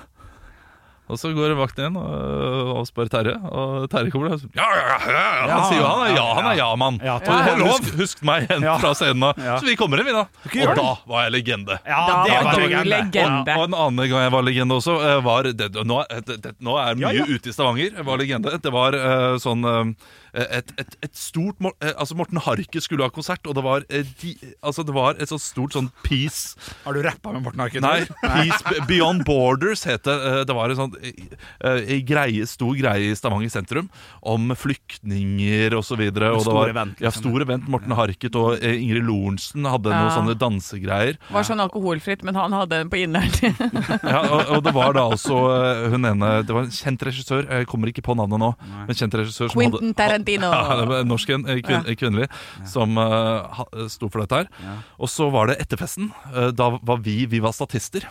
S3: Og så går vakten inn og, og spør Terje, og Terje kommer der og sier ja, ja, ja, ja,
S4: Ja,
S3: han sier jo han er
S4: ja,
S3: ja, han er ja-mann.
S4: Ja,
S3: og
S4: ja, ja.
S3: husk, husk meg igjen
S4: Ja.
S3: fra scenen av.
S4: Ja.
S3: Så vi kommer inn, vi da.
S4: gjør
S3: Og da var jeg legende.
S2: Da
S4: Ja, det
S2: Ah, var
S4: var
S2: du
S4: legende.
S2: legende.
S3: Og en annen gang jeg var legende også eh, var, det, nå, er- det, det, nå er mye
S4: Ja, ja.
S3: ute i Stavanger. Jeg var legende. Det var eh, sånn eh, et, et, et stort mor- eh, Altså, Morten Harket skulle ha konsert, og det var, eh, de, altså, det var et sånt stort sånn Peace
S4: Har du rappa med Morten Harket?
S3: Nei, Peace Beyond Borders het det. Eh, Det var en sånn eh, eh, greie, stor greie i Stavanger sentrum om flyktninger osv.
S4: Stor event,
S3: Ja,
S4: liksom.
S3: stor event. Morten Harket og eh, Ingrid Lorentzen hadde noen
S2: Ja.
S3: sånne dansegreier.
S2: Var sånn alkoholfritt, men han hadde den på inneren.
S3: [LAUGHS] Ja, og, og det var da altså eh, hun ene Det var en kjent regissør, jeg kommer ikke på navnet nå. Men kjent regissør som
S2: Quentin
S3: hadde
S2: Tarantino.
S3: [LAUGHS] ja, det var en norsk en, eh, kvin, kvinnelig, som eh, ha- sto for dette her. Og så var det etterfesten. Eh, Da var vi vi var statister.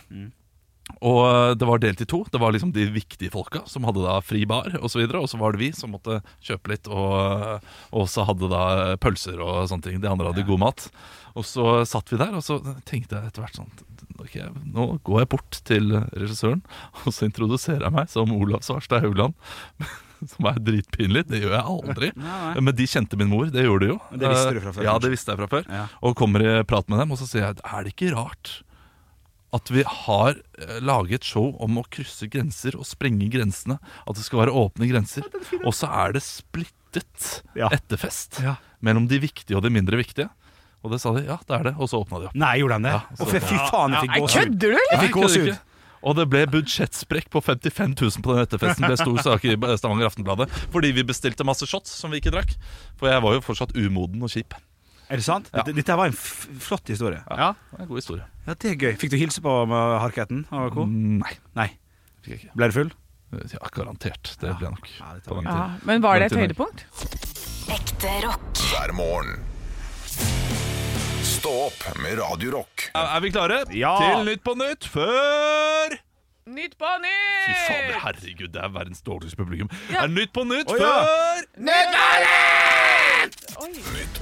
S3: Og eh, det var delt i to. Det var liksom de viktige folka som hadde da fri bar osv. Og, så videre, og så var det vi som måtte kjøpe litt og, eh, og også hadde da eh, pølser og sånne ting. De andre hadde god mat. Og så satt vi der, og så tenkte jeg etter hvert sånn Ok, nå går jeg bort til regissøren, og så introduserer jeg meg som Olav Svarstad Haugland. [LAUGHS] Som er dritpinlig. Det gjør jeg aldri.
S4: Nei,
S3: Men de kjente min mor. Det gjorde de jo. Eh,
S4: Men det visste du fra før,
S3: Ja,
S4: kanskje?
S3: det visste jeg fra før.
S4: Ja.
S3: Og kommer i prat med dem, og så sier jeg Er det ikke rart at vi har eh, laget show om å krysse grenser og sprenge grensene? At det skal være åpne grenser. Og så er det splittet
S4: Ja.
S3: etterfest
S4: Ja.
S3: mellom de viktige og de mindre viktige. Og det sa de. Ja, det er det. Og så åpna de opp.
S4: Nei, gjorde han det?
S3: Ja,
S4: Å, fy fy faen, jeg fikk
S2: Nei,
S4: gåsehud.
S2: kødder du, eller?
S4: Jeg fikk
S3: Nei, kødder
S4: gåsehud.
S3: ikke. Og det ble budsjettsprekk på 55 000 på den etterfesten. Ble stor sak i Stavanger Aftenbladet Fordi vi bestilte masse shots som vi ikke drakk. For jeg var jo fortsatt umoden og kjip.
S4: Er det sant? Dette, dette var en f flott historie.
S5: Ja.
S3: Det er en god historie.
S4: Ja, det er gøy. Fikk du hilse på med Harketen og co.?
S3: Nei,
S4: Nei.
S3: fikk jeg ikke.
S4: Ble du full?
S3: Ja, garantert. Det ble jeg nok.
S4: Ja, det tar
S3: på den
S4: vi.
S2: Ja,
S3: tiden.
S2: men var det et
S3: Quentin.
S2: høydepunkt?
S6: Ekte rock.
S1: hver morgen. Stå opp med Radio Rock.
S3: Er er vi klare
S4: Ja.
S3: til Nytt på nytt før
S2: Nytt på
S3: Fy fader,
S2: nytt!
S3: herregud, det er verdens dårligste publikum.
S2: Ja.
S3: Er Nytt på nytt
S4: Å, ja.
S3: før
S1: Nytt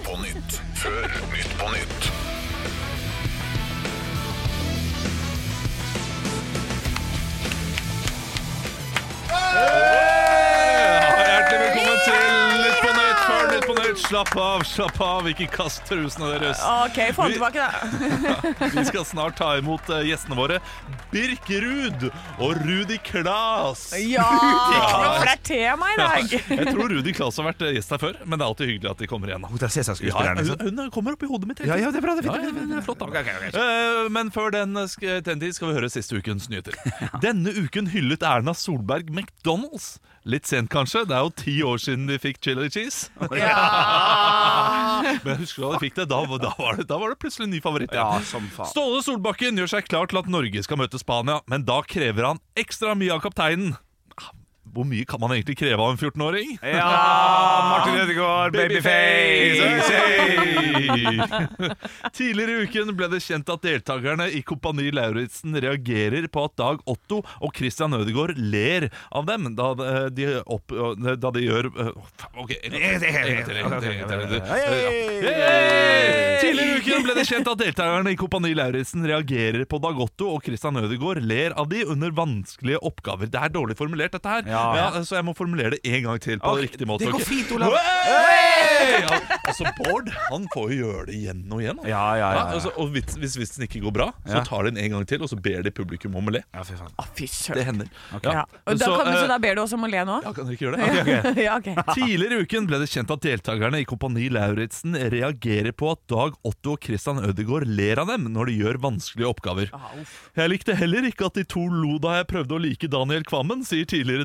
S1: på nytt før Nytt på nytt.
S3: Hjertelig velkommen til Nytt på nytt før Nytt på nytt. Slapp av, slapp av, ikke kast trusene deres.
S2: OK, få den
S3: [LAUGHS]
S2: tilbake, da.
S3: Vi skal snart ta imot eh, gjestene våre Birk Ruud og Rudi Klas.
S2: Ja! For det er tema i dag.
S3: Jeg tror Rudi Klas har vært eh, gjest her før, men det er alltid hyggelig at de kommer igjen. da.
S4: Hun der
S3: Ja,
S4: Cæsar-skuespilleren,
S3: hun,
S4: liksom.
S3: hun kommer opp i hodet mitt. hele
S4: Ja, ja,
S3: tiden.
S4: det er bra. Det er
S3: Ja,
S4: fint. det er
S3: ja,
S4: fint,
S3: det
S4: det
S3: er flott da.
S4: Ok, ok, ok.
S3: Eh, Men før den, sk- den tid skal vi høre siste ukens
S4: [LAUGHS]
S3: nyheter. Denne uken hyllet Erna Solberg McDonald's. Litt sent, kanskje. Det er jo ti år siden de fikk chili cheese. [LAUGHS] Men husker du da de fikk det? Da, var- da, var det, da var det plutselig en ny favoritt.
S4: Ja, som faen.
S3: Ståle Solbakken gjør seg klar til at Norge skal møte Spania, men da krever han ekstra mye av kapteinen. Ah, Hvor mye kan man egentlig kreve av en 14-åring?
S4: Ja, Martin Ødegaard, babyface!
S3: Tidligere i uken ble det kjent at deltakerne i Kompani Lauritzen reagerer på at Dag Otto og Christian Ødegaard ler av dem da eh, de, opp, da de gjør eh, faen, Ok, en gang til, en gang til, en gang til, en gang til. Ja. Hey! Tidligere i uken ble det kjent at deltakerne i Kompani Lauritzen reagerer på Dag Otto og Christian Ødegaard ler av de under vanskelige oppgaver. Det er dårlig formulert, dette her,
S4: Ja.
S3: Ja, så jeg må formulere det en gang til på
S4: Ok,
S3: riktig måte.
S4: det går
S3: ok?
S4: fint, Olav.
S3: Hey! Ja, altså, Bård han får jo gjøre det igjen og igjen. han.
S4: Ja, ja, ja, ja.
S3: altså, og vits, Hvis vitsen ikke går bra, så
S4: Ja.
S3: tar de den en gang til, og så ber de publikum om å le.
S4: Ja, fy faen.
S2: Å, Ah, fy
S3: Det
S2: søren.
S3: hender.
S2: Ja. Og da
S3: Så,
S2: kan, så
S3: eh,
S2: da ber du oss om å le nå? [LAUGHS]
S3: ja, kan dere ikke gjøre det? Ok.
S2: ja,
S3: [LAUGHS]
S2: ok.
S3: Tidligere i uken ble det kjent at deltakerne i Kompani Lauritzen reagerer på at Dag Otto og Christian Ødegaard ler av dem når de gjør vanskelige oppgaver. Jeg likte heller ikke at de to lo da jeg prøvde å like Daniel Kvammen, sier tidligere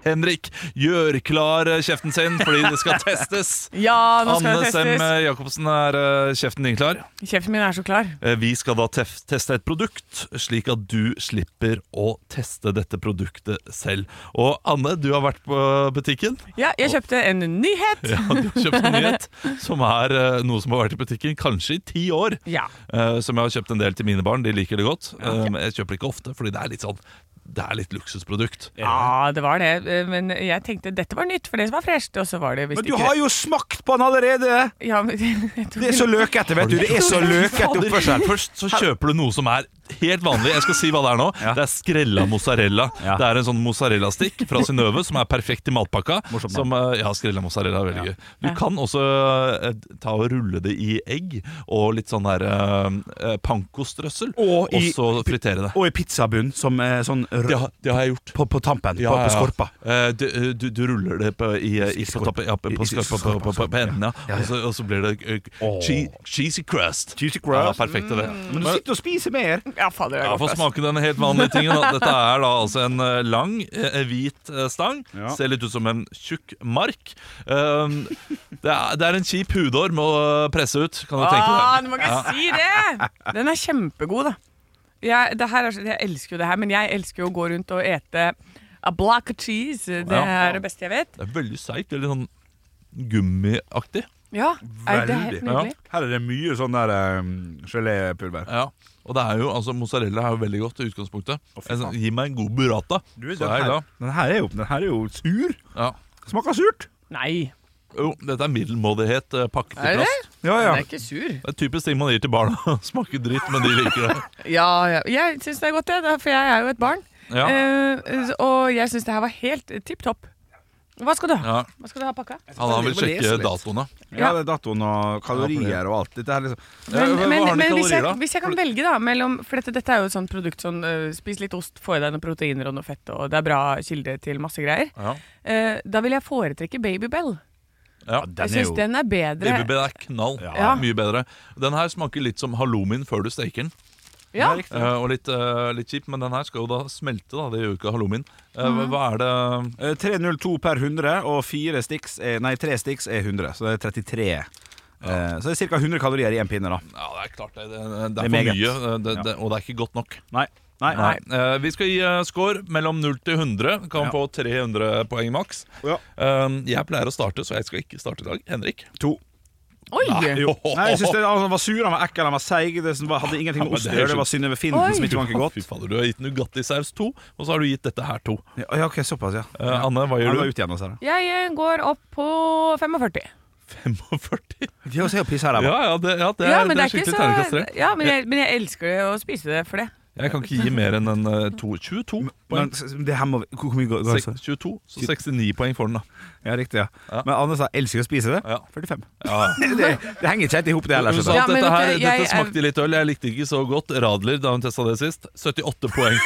S3: Henrik, gjør klar eh, kjeften sin fordi det skal testes.
S2: Ja, nå skal
S3: Anne
S2: det
S3: Sem
S2: testes.
S3: eh, Jacobsen, er eh, kjeften din klar?
S2: Kjeften min er så klar.
S3: Eh, Vi skal da tef teste et produkt, slik at du slipper å teste dette produktet selv. Og Anne, du har vært på butikken.
S2: Ja, jeg kjøpte en nyhet.
S3: Ja, du har kjøpt en nyhet som er eh, noe som har vært i butikken kanskje i ti år.
S2: Ja.
S3: Eh, Som jeg har kjøpt en del til mine barn. De liker det godt. Eh, men Jeg kjøper det ikke ofte, fordi det er litt sånn Det er litt luksusprodukt.
S2: Ja, det var det. Eh, Men jeg tenkte dette var nytt for det som var fresht. Og så var det visst
S4: Men du
S2: ikke
S4: har jo smakt på den allerede!
S2: ja, men, [LAUGHS] jeg tok
S4: Det er så
S2: en-
S4: løkete, vet du. Det er så løkete oppførsel.
S3: Først så kjøper du noe som er helt vanlig. Jeg skal si hva det er nå.
S4: Ja.
S3: Det er skrella mozzarella.
S4: Ja.
S3: Det er en sånn mozzarellastikk fra Synnøve som er perfekt i matpakka.
S4: Morsomt navn.
S3: Som, eh, ja, skrella mozzarella er veldig gøy. Du kan også eh, ta og rulle det i egg og litt sånn der eh, eh, pankostrøssel,
S4: Og
S3: og,
S4: i-
S3: så fritere det.
S4: Og i pizzabunn, som eh, sånn rød
S3: Det har, det har jeg gjort.
S4: på, på tampen.
S3: Ja,
S4: på,
S3: ja,
S4: på
S3: ja.
S4: skorpa.
S3: Eh, Du, du, du ruller det på, i, eh, i, på,
S4: skorpa.
S3: tappen- ja, på,
S4: I- i
S3: på, skorpa, på,
S4: skorpa,
S3: på, på, på enden, ja.
S4: ja.
S3: Og, så, og så blir det eh, che- cheesy crust. Mm.
S4: Cheesy
S3: Ja,
S4: crust.
S3: perfekt det.
S4: Men du sitter og spiser mer.
S2: Ja, fader, det er
S3: Ja, Få
S2: godt. ass.
S3: smake den helt vanlige tingen. da. Dette er da altså en eh, lang, eh, hvit eh, stang.
S4: Ja.
S3: Ser litt ut som en tjukk mark. Um, det, er, det er en kjip hudorm å eh, presse ut, kan du
S2: Ah,
S3: tenke deg.
S2: du må ikke si det! Den er kjempegod, da. Jeg, det her er, så- jeg elsker jo det her, men jeg elsker jo å gå rundt og ete a block of cheese. Det
S3: Ja.
S2: er det beste jeg vet.
S3: Det er veldig seigt. Litt sånn gummiaktig.
S2: Ja, er det er helt
S4: Veldig.
S2: nydelig.
S4: Her er det mye sånn der um, gelépulver.
S3: Ja. Og det er jo, altså Mozzarella er jo veldig godt i utgangspunktet.
S4: fy faen.
S3: Jeg- Gi meg en god burrata.
S4: Du,
S3: så
S4: den,
S3: er jeg
S4: her,
S3: glad.
S4: den, her er jo, den her er jo sur.
S3: Ja.
S4: Smaker surt.
S2: Nei,
S3: Jo, dette er middelmådighet eh, pakket
S2: Er
S3: i
S2: det
S3: plast.
S4: Ja,
S2: den
S4: ja.
S2: er ikke sur.
S3: Det er typisk ting man gir til barna. [LAUGHS] Smaker dritt, men de liker det.
S2: Ja, ja. Jeg syns det er godt, det, da, for jeg er jo et barn.
S3: Ja.
S2: Eh, og jeg syns det her var helt tipp topp. Hva skal du ha?
S3: Ja.
S2: Hva skal du ha pakka?
S3: Han vil
S4: Jeg må lese
S3: sjekke
S4: litt.
S3: datoene.
S4: Ja, det er datoen og kalorier og alt. Dette her liksom
S2: Men,
S3: hva
S2: men,
S3: har den i
S2: men hvis,
S3: kalorier,
S2: jeg,
S3: da?
S2: hvis jeg kan velge da mellom, For dette, dette er jo et sånt produkt sånn, øh, Spis litt ost, få i deg noen proteiner og noe fett Og det er bra kilde til masse greier
S3: Ja.
S2: Eh, Da vil jeg foretrekke Babybel
S3: Ja.
S2: Jeg synes den er bedre
S3: BBB er knall.
S2: Ja.
S3: Mye bedre. Den her smaker litt som halloumien før du steker den.
S2: ja.
S4: riktig.
S3: Eh, og litt, eh, litt kjip, men den her skal jo da smelte. da Det gjør jo ikke halloumien. Eh, hva-
S2: Mm.
S3: Hva er det
S4: Eh, 302 per 100, og fire sticks er, nei, tre sticks er 100, så det er 33. Eh, Så det er ca. 100 kalorier i én pinne, da.
S3: Ja, det er klart det. Det, det,
S4: er
S3: er for
S4: meget.
S3: mye, eh, det, det, og det er ikke godt nok.
S4: Nei. Nei.
S3: Nei. Eh, vi skal gi eh, score mellom 0 til 100. Kan
S4: Ja.
S3: få 300 poeng maks.
S4: Ja.
S3: Eh, jeg pleier å starte, så jeg skal ikke starte i dag. Henrik?
S4: To.
S2: Oi,
S3: [LAUGHS] Jo.
S4: Nei, jeg synes det, Han var sur, han var ekkel, han var seig. Det som var- hadde ingenting med
S3: men
S4: ost å
S3: det er
S4: gjøre. Det var Synnøve Finden
S2: Oi.
S4: som ikke vanker godt.
S3: Fy fader, du har gitt Nugatti-saus to, og så har du gitt dette her to.
S4: Ja, ja, ok, såpass, ja.
S3: Eh, Anne, hva
S4: Han
S3: gjør
S4: var
S3: du?
S4: ute igjen, altså.
S2: Jeg eh, går opp på 45
S3: 45?
S4: Vi ser jo piss her, da.
S3: Ja, ja, det, ja, det, er,
S2: ja,
S3: det
S2: men
S3: er
S2: det er ikke
S3: skikkelig
S2: så-
S3: terningkast tre.
S2: Ja, men jeg, men jeg elsker det å spise det for det
S3: Jeg kan ikke gi mer enn en eh, to- 22
S4: Men
S3: poeng.
S4: s- det her må vi Hvor hvor mye går
S3: Sek-
S4: det?
S3: 22, så 69 poeng for den, da.
S4: Ja, riktig. ja,
S3: Ja.
S4: Men Anne sa 'elsker å spise det'.
S3: Ja.
S4: 45.
S7: [LAUGHS]
S3: Ja.
S4: Det, det henger ikke helt i hop, det heller.
S3: Hun sa
S4: skjønner du.
S2: Ja,
S3: at
S2: men vet
S3: dette, her,
S2: du, jeg
S3: dette
S2: er-
S3: smakte litt øl. Jeg likte ikke så godt Radler da hun testa det sist. 78 poeng.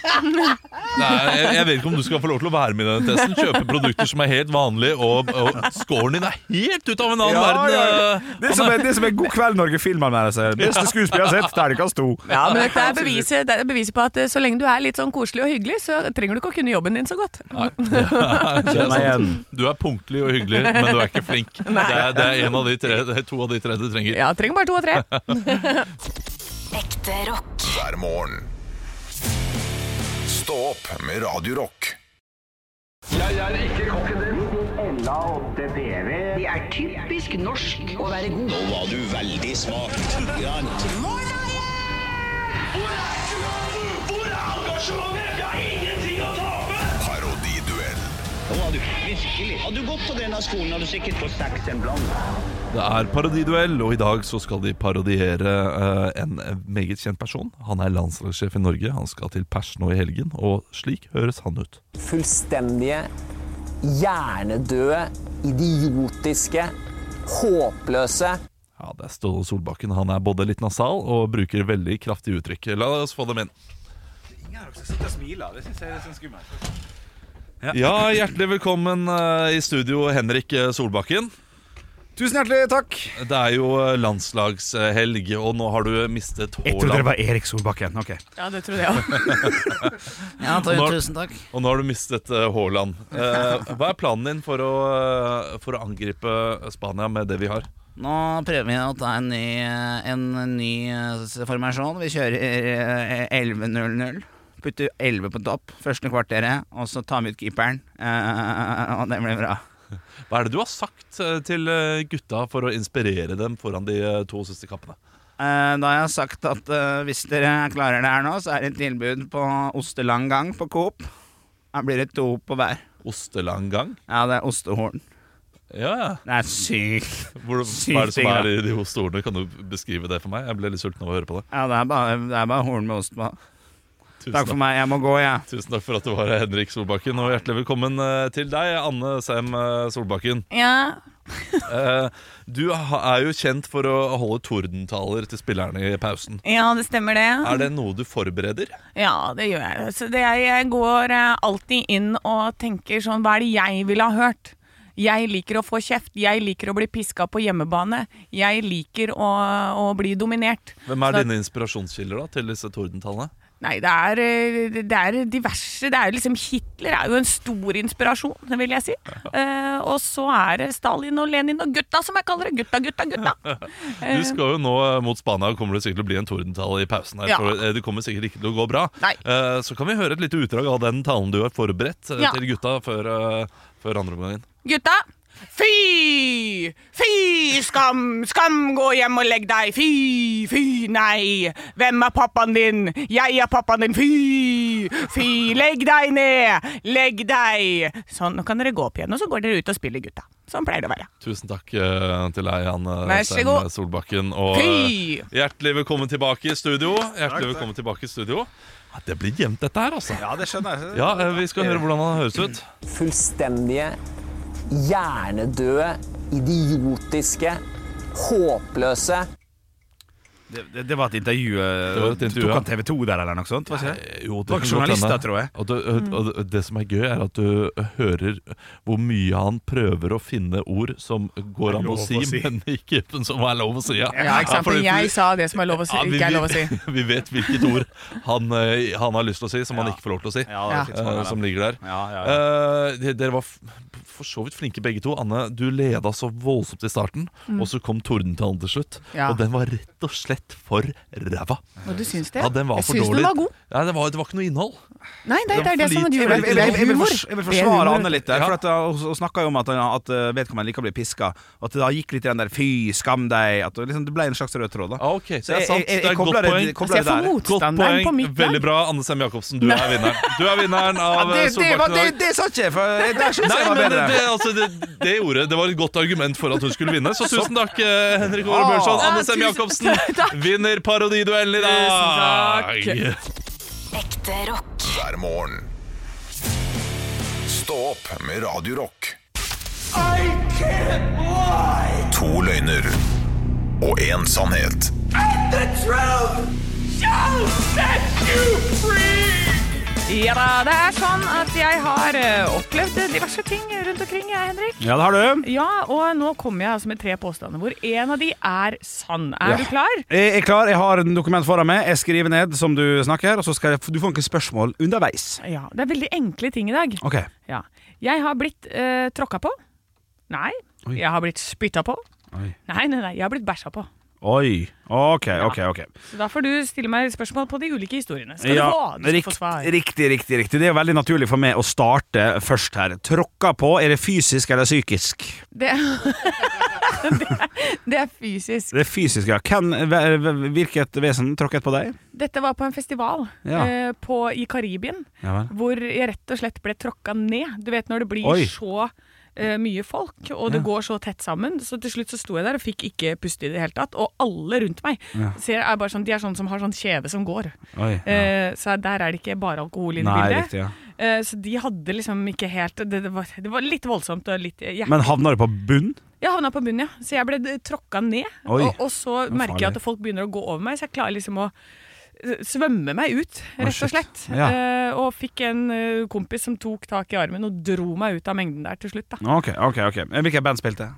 S3: Nei, jeg, jeg vet ikke om du skal få lov til å være med i denne testen. Kjøpe produkter som er helt vanlige, og, og scoren din er helt ut av en annen
S4: Ja,
S3: verden.
S4: ja, ja.
S3: eh,
S4: Det som er, det som er God kveld, Norge-filmer med seg. Beste skuespiller jeg har sett, terningkast to.
S2: Ja, men dette er beviset, det er beviset på at eh, så lenge du er litt sånn koselig og hyggelig, så trenger du ikke å kunne jobben din så godt.
S3: Det er
S4: Kjenn meg
S3: sant.
S4: igjen.
S3: Du er punktlig og hyggelig, men du er ikke flink. Det er, det er en av de tre, det er to av de tre du trenger.
S2: Ja, trenger bare to og tre.
S3: [LAUGHS]
S6: Ekte rock.
S1: hver morgen. Stå opp med Radio Rock.
S8: Det er typisk norsk å være god.
S9: Nå var du veldig smak.
S1: Parodiduell
S9: Nå var du virkelig. Hadde du gått på denne skolen, hadde du sikkert fått seks en blant.
S3: Det er parodiduell, og i dag så skal de parodiere eh, en meget kjent person. Han er landslagssjef i Norge, han skal til pers nå i helgen, og slik høres han ut.
S10: fullstendige, hjernedøde, idiotiske, håpløse
S3: Ja, det er Ståle Solbakken. Han er både litt nasal og bruker veldig kraftig uttrykk. La oss få dem inn.
S4: Ingen av dere sitter og smiler. Det syns jeg er litt sånn skummelt.
S3: Ja, hjertelig velkommen eh, i studio, Henrik eh, Solbakken.
S4: Tusen hjertelig takk.
S3: Det er jo eh, landslagshelg, og nå har du mistet
S4: Jeg trodde det
S3: Haaland.
S4: var Erik Solbakken. Ok.
S2: Ja, det trodde jeg òg.
S7: Ja,
S3: Når-
S7: tusen takk.
S3: Og nå har du mistet eh, Haaland. Eh, hva er planen din for å, eh, for å angripe Spania med det vi har?
S7: Nå prøver vi å ta en ny, en ny eh, formasjon. Vi kjører eh, 11-0-0. Putter 11 på topp første kvarteret, og så tar vi ut keeperen. Eh, og det blir bra.
S3: Hva er det du har sagt eh, til eh, gutta for å inspirere dem foran de eh, to siste kappene?
S7: Eh, da har jeg sagt at eh, hvis dere klarer det her nå, så er det et tilbud på ostelang gang på Coop. Her blir det to på hver.
S3: Ostelang gang?
S7: Ja, det er ostehorn.
S3: Ja, ja.
S7: Det er sykt.
S3: Hvor,
S7: Sykt
S3: hva er det som
S7: digg,
S3: er i de ostehornene? Kan du beskrive det for meg? Jeg ble litt sulten av å høre på det.
S7: Ja, det er bare, det er bare horn med ost på.
S3: Tusen
S7: Takk for meg, jeg må gå, jeg.
S3: Tusen takk for at du var her, Henrik Solbakken, og hjertelig velkommen eh, til deg, Anne Sem eh, Solbakken.
S2: Ja.
S3: Eh, Du ha- er jo kjent for å holde tordentaler til spillerne i pausen.
S2: ja, det stemmer det.
S3: Er det noe du forbereder?
S2: Ja, det gjør jeg. Så det, jeg går eh, alltid inn og tenker sånn Hva er det jeg ville ha hørt? Jeg liker å få kjeft. Jeg liker å bli piska på hjemmebane. Jeg liker å, å bli dominert.
S3: Hvem er
S2: Så-
S3: dine inspirasjonskilder da, til disse tordentalene?
S2: Nei, det er, eh, det er diverse Det er jo liksom Hitler er jo en stor inspirasjon, vil jeg si. Eh, og så er det Stalin og Lenin og gutta, som jeg kaller det. Gutta, gutta, gutta.
S3: Du skal jo nå eh, mot Spania og kommer det sikkert til å bli en tordentale i pausen her.
S2: Ja.
S3: For eh, det kommer sikkert ikke til å gå bra.
S2: Nei.
S3: Eh, Så kan vi høre et lite utdrag av den talen du har forberedt eh,
S2: Ja.
S3: til gutta før, eh, før andre omgangen.
S2: Gutta! Fy! Fy! Skam! Skam! Gå hjem og legg deg! Fy! Fy! Nei! Hvem er pappaen din? Jeg er pappaen din! Fy! Fy! Legg deg ned! Legg deg! Sånn, nå kan dere gå opp igjen, og så går dere ut og spiller gutta. Sånn pleier det å være.
S3: Tusen takk eh, til deg, Anne
S2: Vær så
S3: Sem
S2: god.
S3: Solbakken. Og
S2: Fy!
S3: eh, hjertelig velkommen tilbake i studio. Hjertelig velkommen tilbake i studio. Ja, det blir jevnt, dette her, altså.
S4: Ja, det skjønner jeg.
S3: Ja, eh, Vi skal høre hvordan han høres ut.
S10: fullstendige, hjernedøde, idiotiske, håpløse
S4: Det, det, det var et intervju. eh,
S3: Det var et intervju,
S4: Tok
S3: ja.
S4: han TV 2 der eller noe sånt? Var ikke det?
S3: Eh, Jo,
S4: Det
S3: kan
S4: var ikke
S3: godt
S4: journalister,
S3: hende.
S4: tror jeg.
S3: Og
S2: Mm.
S3: det, og det- det som er gøy, er at du hører hvor mye han prøver å finne ord som går an å
S4: Lov å
S3: si,
S4: si.
S3: [LAUGHS] men ikke som er lov å si. Ja, fordi-
S2: sa det som er lov å
S3: Ja, vi- [LAUGHS] Vi vet hvilket ord han, eh, han har lyst til å si, som han ikke får lov til å si.
S4: Ja, det var
S2: Ja.
S4: litt sånn,
S3: eh,
S4: ja.
S3: som ligger der.
S4: Ja, ja, ja.
S3: Eh, de- dere var f for så vidt flinke begge to. Anne, du leda så voldsomt i starten, og så kom tordentalen til slutt.
S2: Mm. Ja.
S3: Og den var rett og slett for ræva.
S2: Og du syns det?
S3: Ja, den var for dårlig. Ja, det, var, det var ikke noe innhold.
S2: Nei,
S3: det var er det
S2: sånn
S3: for som er lite-
S4: Jeg
S3: gjør
S4: vil, jeg, vil, jeg, vil fors- jeg vil forsvare Anne litt der.
S3: Ja.
S4: For at uh, Hun hun snakka jo om at, at uh, vedkommende liker å bli piska. Og at det da gikk litt i den der 'fy, skam deg'. At det, liksom, det ble en slags rød tråd. da
S3: Ah, ok,
S4: Så
S3: det er
S4: jeg-
S3: sant.
S4: jeg- jeg
S3: det er et
S4: kobler
S3: godt
S4: det-
S3: poeng.
S4: kobler det
S2: Jeg ser
S4: der.
S2: for
S3: Godt
S2: Motstanderen
S3: poeng.
S2: på mitt lag.
S3: Veldig bra, Anne Sem Jacobsen. Du er vinneren. Du er
S4: [LAUGHS]
S3: vinneren
S4: Ja,
S3: av
S4: det,
S3: eh,
S4: det, var-
S3: Solbakken. i
S4: det,
S3: dag.
S4: det sa ikke jeg, for
S3: [LAUGHS]
S4: jeg- der syns
S3: Nei,
S4: jeg var
S3: men det,
S4: bedre.
S3: det, altså, det, det ordet Det var et godt argument for at hun skulle vinne. Så tusen takk, eh, Henrik Åre
S4: Ah.
S3: Børson.
S2: Ja,
S3: Anne Sem
S2: tusen-
S4: [LAUGHS]
S3: Jacobsen vinner parodiduellen i dag.
S2: Tusen takk.
S6: Ekte rock.
S1: hver morgen. Stå opp med Radio Rock. To løgner og én sannhet.
S2: Ja da, det er sånn at jeg har eh, opplevd diverse ting rundt omkring, jeg, Henrik.
S4: Ja, det har du.
S2: Ja, og nå kommer jeg altså med tre påstander, hvor en av de er sann. Er
S4: Ja.
S2: du klar?
S4: Jeg er klar, jeg har en dokument foran meg. Jeg skriver ned som du snakker, og så skal jeg, du får noen spørsmål underveis.
S2: Ja. Det er veldig enkle ting i dag.
S4: Ok.
S2: Ja. Jeg har blitt eh, tråkka på. Nei.
S4: Oi.
S2: Jeg har blitt spytta på.
S4: Oi.
S2: Nei, nei, nei. Jeg har blitt bæsja på.
S4: Oi. Ok, ok, ok.
S2: Så da får du stille meg spørsmål på de ulike historiene. Skal
S4: Ja,
S2: du få, du skal
S4: rikt-
S2: få svar.
S4: riktig, riktig, riktig. Det er jo veldig naturlig for meg å starte først her. Tråkka på, er det fysisk eller psykisk?
S2: Det, [LAUGHS] det, det er fysisk.
S4: Det er fysisk, ja. Hvem, hve- hve- hvilket vesen tråkket på deg?
S2: Dette var på en festival
S4: Ja.
S2: eh, på, i Karibien,
S4: Ja vel.
S2: hvor jeg rett og slett ble tråkka ned. Du vet når det blir
S4: Oi.
S2: så eh, mye folk, og det går så tett sammen. Så til slutt så sto jeg der og fikk ikke puste i det hele tatt. Og alle rundt meg
S4: Ja.
S2: ser, er bare sånn, de er sånn som har sånn kjeve som går.
S4: Oi. Ja.
S2: Eh, så der er det ikke bare alkohol inne i
S4: Nei,
S2: bildet.
S4: riktig, ja.
S2: Eh, så de hadde liksom ikke helt Det, det, var, det var litt voldsomt og litt jeg-
S4: Men havna du på bunn?
S2: jeg havna på bunnen, ja. Så jeg ble d- tråkka ned.
S4: Oi,
S2: Og, og så
S4: var
S2: merker jeg
S4: farlig.
S2: at folk begynner å gå over meg, så jeg klarer liksom å eh, svømme meg ut, rett
S4: shit.
S2: og slett.
S4: Ja.
S2: Eh, og fikk en eh, kompis som tok tak i armen og dro meg ut av mengden der til slutt. Da.
S4: Ok, ok, ok. Hvilket band
S2: [LAUGHS]
S4: spilte?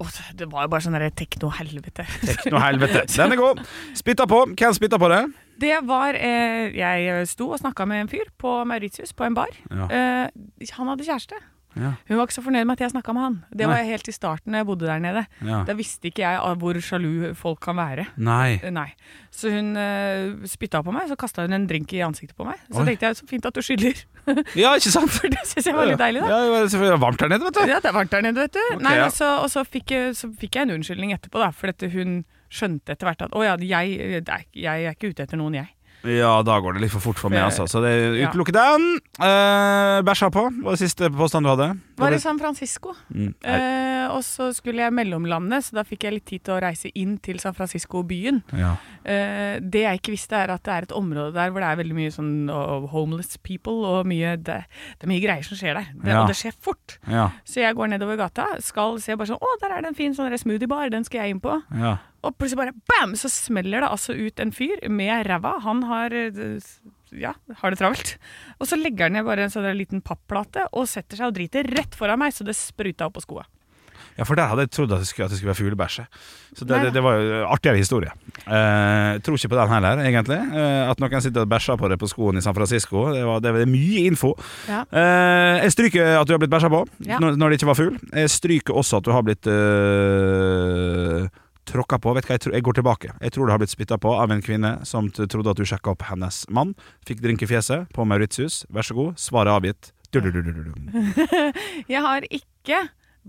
S2: Åh, det var jo bare sånn derre tekno-helvete.
S4: Nå helvete. Den er god. Spytta på. Hvem spytta på det?
S2: [LAUGHS] Det var eh, Jeg sto og snakka med en fyr på Mauritius, på en bar.
S4: Ja.
S2: Eh, han hadde kjæreste.
S4: Ja.
S2: Hun var ikke så fornøyd med at jeg snakka med han. Det
S4: Nei.
S2: var helt i starten da jeg bodde der nede.
S4: Ja.
S2: Da visste ikke jeg av hvor sjalu folk kan være.
S4: Nei.
S2: Eh, Nei. Så hun eh, spytta på meg, så kasta hun en drink i ansiktet på meg. Så
S4: Oi.
S2: tenkte jeg så fint at du skyller,
S4: Ja, ikke sant?
S2: [LAUGHS] for [LAUGHS] det syns jeg var litt deilig, da.
S4: Ja, det var selvfølgelig varmt her nede, vet du.
S2: Ja, det er varmt der nede, vet du. Nei,
S4: ja.
S2: og så, og så, fikk, jeg- så fikk jeg en unnskyldning etterpå, da, for dette hun skjønte etter hvert at å ja, jeg, det er, jeg er ikke ute etter noen, jeg.
S4: Ja, da går det litt for fort for
S2: Eh,
S4: meg, altså. Så det utelukker den. Eh, bæsja på var det siste påstand du hadde.
S2: Var i San Francisco,
S4: Mm, nei.
S2: eh, og så skulle jeg mellomlande, så da fikk jeg litt tid til å reise inn til San Francisco-byen.
S4: Ja.
S2: Eh, det jeg ikke visste, er at det er et område der hvor det er veldig mye sånn oh, homeless people, og mye, det, det er mye greier som skjer der. Det,
S4: Ja.
S2: Og det skjer fort.
S4: Ja.
S2: Så jeg går nedover gata, skal se bare sånn Å, der er det en fin sånn der smoothiebar, den skal jeg inn på.
S4: Ja.
S2: Og plutselig bare bam, så smeller det altså ut en fyr med ræva. Han har eh, ja, har det travelt. Og så legger han ned bare en sånn der liten papplate og setter seg og driter rett foran meg, så det spruta opp på skoa.
S4: Ja, for der hadde jeg trodd at det skulle, at det skulle være fuglebæsje. Så det,
S2: Nei.
S4: det, det var jo artigere historie. Eh, tror ikke på den heller, egentlig. Eh, at noen sitter og bæsja på det på skoen i San Francisco. Det, var, det, det er mye info.
S2: Ja.
S4: Eh, jeg stryker at du har blitt bæsja på
S2: Ja.
S4: når, når det ikke var fugl. Jeg stryker også at du har blitt eh, tråkka på. Vet du hva, jeg, tror, jeg går tilbake. Jeg tror du har blitt spytta på av en kvinne som t- trodde at du sjekka opp hennes mann. Fikk drink i fjeset på Mauritius. Vær så god, svaret er avgitt. Du, du, du, du, du.
S2: [LAUGHS]
S4: du.
S2: Jeg har ikke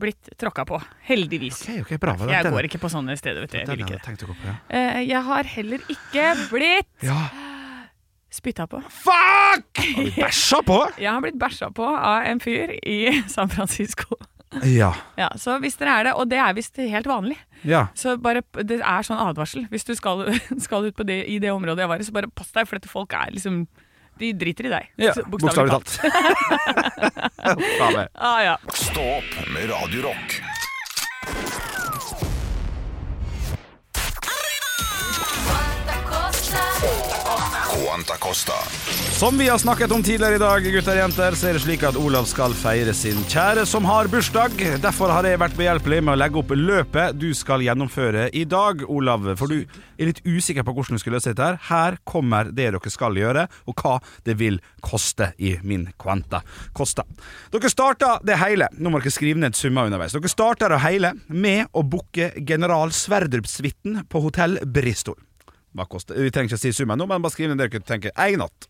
S2: blitt tråkka på, heldigvis.
S4: Ok, ok, bra.
S2: Jeg går ikke på sånne steder, vet du. Jeg vil ikke det.
S4: tenkt å gå på, ja.
S2: Eh, Jeg har heller ikke blitt
S4: ja.
S2: spytta på.
S4: Fuck! Har du bæsja på?
S2: Jeg har blitt bæsja på av en fyr i [LAUGHS] San Francisco.
S4: Ja.
S2: Ja, så hvis dere er det, og det er visst helt vanlig,
S4: ja.
S2: så bare, det er sånn advarsel. Hvis du skal, [LAUGHS] skal ut på det, i det området jeg var i, så bare pass deg, for dette folk er liksom De driter i deg.
S4: ja.
S2: Så
S4: Bokstavelig talt. [LAUGHS] Faen meg.
S2: Ah, ja.
S1: Stå opp med Radio Rock. Quanta Costa.
S4: Som vi har snakket om tidligere i dag, gutter og jenter, så er det slik at Olav skal feire sin kjære som har bursdag. Derfor har jeg vært behjelpelig med å legge opp løpet du skal gjennomføre i dag, Olav. For du er litt usikker på hvordan du skal løse dette her. Her kommer det dere skal gjøre, og hva det vil koste i min kvanta. Kosta. Dere starter det hele. Nå må dere skrive ned summer underveis. Dere starter det hele med å booke General Sverdrup-suiten på hotell Bristol. Hva koster? Vi trenger ikke å si summen nå, men bare skriv ned det dere tenker. Én natt.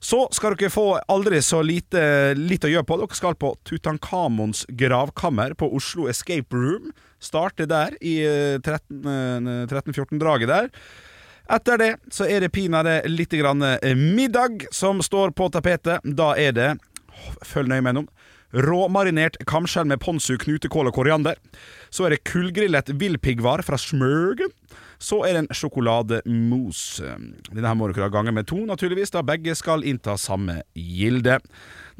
S4: Så skal dere få aldri så lite, litt å gjøre på. Dere skal på Tutankhamons gravkammer på Oslo Escape Room. Starte der i eh, 13-14-draget der. Etter det så er det pinadø litt grann eh, middag som står på tapetet. Da er det Følg nøye med nå. Råmarinert kamskjell med ponzu, knutekål og koriander. Så er det kullgrillet villpiggvar fra Smørgen. Så er det en sjokolademousse. Denne her må dere da gange med to, naturligvis, da begge skal innta samme gilde.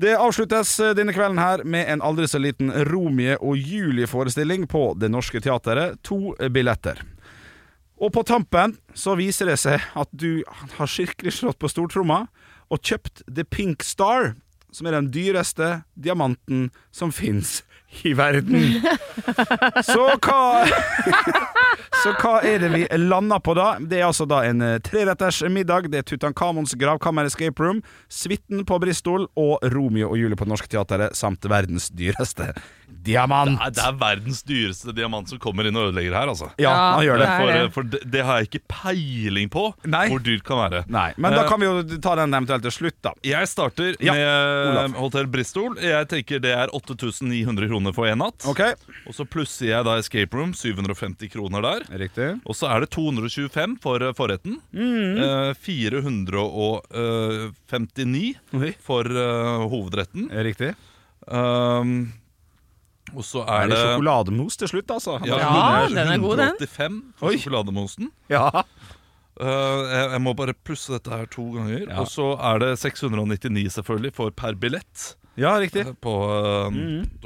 S4: Det avsluttes denne kvelden her med en aldri så liten Romeo og Julie-forestilling på Det Norske Teatret. To billetter. Og på tampen så viser det seg at du har skikkelig slått på stortromma og kjøpt The Pink Star, som er den dyreste diamanten som fins i verden. Så hva [LAUGHS] Så hva er det vi lander på da? Det er altså da en eh, treretters middag, det er Tutankhamons gravkammer escape room, suiten på Bristol og Romeo og Julie på Det Norske Teatret samt verdens dyreste diamant.
S3: Nei, det er verdens dyreste diamant som kommer inn og ødelegger her, altså.
S4: Ja, han gjør det.
S2: Ja,
S3: For,
S2: det er
S3: eh, for det, det har jeg ikke peiling på
S4: Nei.
S3: hvor dyrt kan være. Eh,
S4: Nei, men da kan vi jo ta den eventuelt til slutt, da.
S3: Jeg starter
S4: Ja,
S3: med
S4: Olav.
S3: Hotell Bristol. Jeg tenker det er 8900 kroner for én natt.
S4: Ok,
S3: Og så plusser jeg da Escape Room, 750 kroner der.
S4: riktig.
S3: Og så er det 225 for eh, forretten. Eh, 459
S4: Oi.
S3: eh, for eh, hovedretten.
S4: Riktig.
S3: Um, og så er,
S4: Er det sjokolademos til slutt, altså?
S3: Ja,
S2: Ja,
S3: det er
S2: den er god, den.
S3: 185 for sjokolademosen.
S4: Ja.
S3: Eh, jeg, jeg må bare plusse dette her to ganger.
S4: Ja.
S3: Og så er det 699 selvfølgelig for per billett
S4: ja, riktig.
S3: eh, på uh,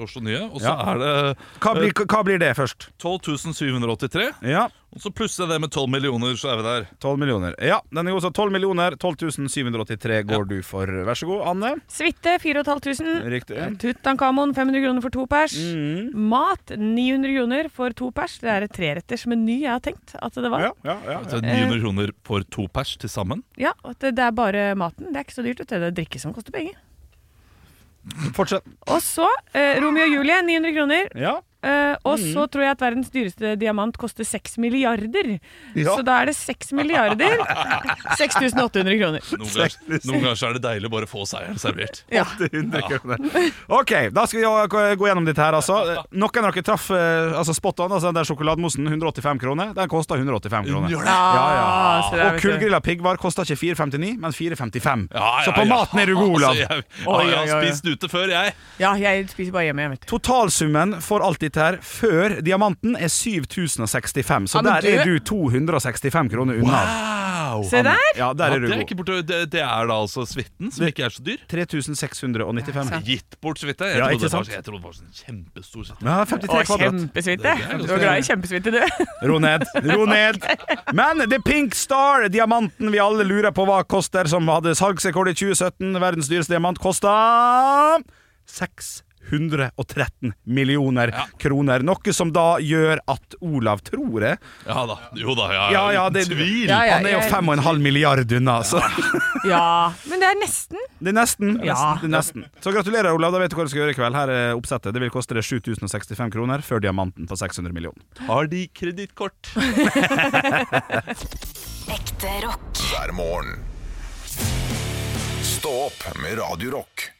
S3: Oslo Nye. Og så
S4: Mm. Ja.
S3: er det
S4: Hva blir, hva blir det først?
S3: 12.783
S4: Ja,
S3: Og så plusser jeg det med 12 millioner, så er vi der.
S4: 12 millioner. Ja, den er god, så 12 millioner. 12.783 går du for. Vær så god, Anne.
S2: Suite 4500.
S4: Riktig.
S2: Tutankhamon 500 kroner for to pers.
S4: Mm.
S2: Mat 900 kroner for to pers. Det er et treretters meny jeg har tenkt at det var.
S4: Ja, ja, ja,
S3: Så
S4: ja.
S3: er det 900 kroner for to pers til sammen.
S2: Ja, at det, det er bare maten. Det er ikke så dyrt. vet du. Det er drikke som koster penger.
S4: Fortsett.
S2: Og så eh, Romeo og Julie 900 kroner.
S4: Ja.
S2: Eh, og så tror jeg at verdens dyreste diamant koster 6 milliarder.
S4: Ja.
S2: Så da er det 6 milliarder 6800 kroner.
S4: [LAUGHS]
S3: Noen ganger, noen ganger så er det deilig å bare få seieren servert.
S2: Ja.
S4: 100 kroner. Ok, da skal vi jo gå- gå gjennom dette her, altså. Noen av dere traff eh, altså spot on. Altså, den der sjokolademosen, 185 kroner. Den kosta 185 kroner.
S3: Gjør det.
S4: Ja,
S2: Ah, så det er,
S4: ja. Og
S2: vet du.
S4: kullgrilla piggvar koster ikke 4,59, men 4,55.
S3: Ja, ja,
S4: Så på
S3: ja.
S4: maten er du god, Olav.
S3: Altså, jeg,
S2: Oi,
S3: ja,
S2: oi,
S3: jeg
S2: oi.
S3: har spist ute før, jeg.
S2: Ja, jeg spiser bare hjemme, jeg, vet du.
S4: Totalsummen for alt dette her før diamanten er 7065, så
S2: Ja, men
S4: der er
S2: du-
S4: du 265 kroner unna.
S3: Wow!
S2: Se der!
S4: Ja, der
S3: Ja,
S4: er du
S3: det, er
S4: god.
S3: ikke borte, det, det er da altså suiten, som ikke er så dyr.
S4: 3695.
S3: Gitt bort suite. Jeg,
S4: Ja,
S3: trodde det
S4: ikke
S3: var-
S4: sant?
S3: jeg trodde det var sånn kjempestor suite.
S4: Ja,
S2: Å,
S4: 53
S3: hm.
S4: kvadrat.
S2: kjempesuite. Du er glad i kjempesuite, du.
S4: Ro ned.
S3: [LAUGHS]
S4: Ro ned. Men The Pink Star, diamanten vi alle lurer på hva koster, som hadde salgsrekord i 2017, verdens dyreste diamant, kosta 613 millioner kroner. Noe som da gjør at Olav tror det.
S3: Ja da. Jo da, ja.
S4: Ja, ja,
S3: uten
S4: det-
S3: Tvil.
S2: Ja, ja,
S4: Han er jo
S2: jeg-
S4: 5,5 milliard unna, så
S2: Ja, men det er nesten.
S4: Det er nesten.
S2: Ja.
S4: nesten, det er nesten. Så gratulerer, Olav. Da vet du hva du skal gjøre i kveld. Her er oppsettet. Det vil koste deg 7065 kroner før diamanten på 600 millioner.
S3: Har de kredittkort?
S4: [LAUGHS]
S6: Ekte rock.
S1: hver morgen. Stå opp med Radio Rock.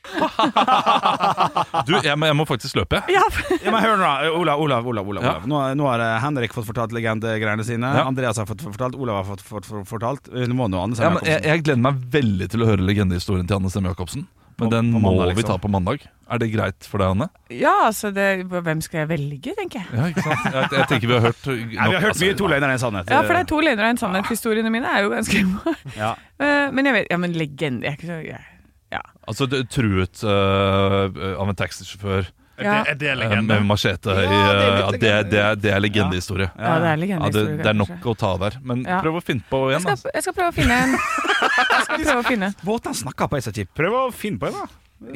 S3: Du, jeg, må- jeg må faktisk løpe. jeg.
S2: Ja,
S4: Ja, men hør nå, da. Olav, Olav, Olav. Olav,
S3: Ja.
S4: Olav. Nå, nå har eh, Henrik fått fortalt legendegreiene sine.
S3: Ja.
S4: Andreas har fått fått fortalt. Olav har fått fått- fått fortalt. Eh, Nå må nå
S3: Ja,
S4: Anne Sem
S3: men jeg,
S4: Jacobsen.
S3: jeg gleder meg veldig til å høre legendehistorien til Anne Stemme Jacobsen. Men
S4: På-
S3: den
S4: på
S3: må
S4: mandag,
S3: vi
S4: liksom.
S3: ta på mandag. Er det greit for deg, Anne?
S2: ja altså det, Hvem skal jeg velge, tenker jeg.
S3: Ja, ikke sant? [LAUGHS] Jeg, jeg tenker vi har hørt nok,
S4: Nei, vi har hørt
S3: altså,
S4: mye to løgner i en sannhet.
S2: Ja, for det er to lener av en sannhet. Historiene mine er jo ganske [LAUGHS]
S4: Ja.
S2: Eh, Men jeg vet Ja, men legende Jeg er ikke så jeg, Ja.
S3: Altså det- truet øh, av en taxisjåfør
S2: Ja.
S5: Er det
S3: øh, med
S5: legende?
S3: machete. i, øh, ja, det, er- det, er- det er legendehistorie. Ja.
S2: ja, det er
S3: det,
S2: legendehistorie.
S3: det er
S2: kanskje.
S3: nok å ta der. Men
S2: Ja.
S3: prøv å finne på igjen.
S2: Jeg
S3: Altså.
S2: skal, jeg skal prøve å finne en. Jeg skal prøve å
S4: [LAUGHS]
S2: finne
S4: Båten han snakker på, er så kjip. Prøv å finne på en, da.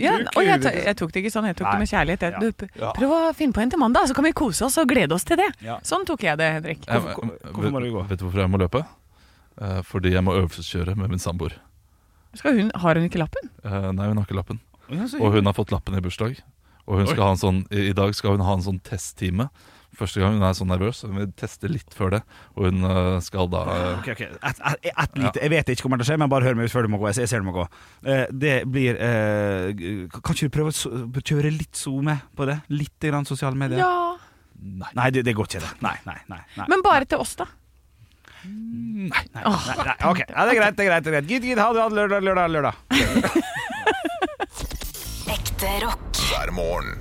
S2: ja,
S4: Bruk
S2: og jeg,
S4: huet
S2: ta-
S4: ditt.
S2: jeg tok det ikke sånn, jeg tok det med kjærlighet. Jeg, du, p-
S4: Ja.
S2: prøv å finne på en til mandag, så kan vi kose oss og glede oss til det.
S4: Ja.
S2: Sånn tok jeg det, Henrik.
S3: Jeg-
S4: hvorfor-
S3: jeg-
S4: hvorfor må du gå?
S3: Vet du hvorfor jeg må løpe? Eh, Fordi jeg må øvelseskjøre med min samboer.
S2: Skal hun, har hun ikke lappen?
S3: Eh, Nei, hun har ikke lappen.
S4: Ja, så
S3: Og hun har fått lappen i bursdag. Og hun skal ha en sånn, i, I dag skal hun ha en sånn testtime. Første gang hun er så nervøs. så Hun vil teste litt før det. Og hun eh, skal da eh,
S4: Ok, ok. Et, et, et lite, Jeg vet det ikke kommer til å skje, men bare hør meg ut før du må gå. Jeg, jeg ser du må gå. Eh, det blir eh, g- Kan ikke du prøve å so- kjøre litt SoMe på det? Litt grann sosiale medier?
S2: Ja.
S4: Nei, nei det, det går ikke, det. Nei, nei, nei. nei.
S2: Men bare til oss, da.
S4: nei, nei, nei. Ok, ja, det er greit. det er greit, det er greit Gitt, gitt, ha det. ha det. Lørdag, lørdag, lørdag.
S6: Ekte rock.
S1: hver morgen.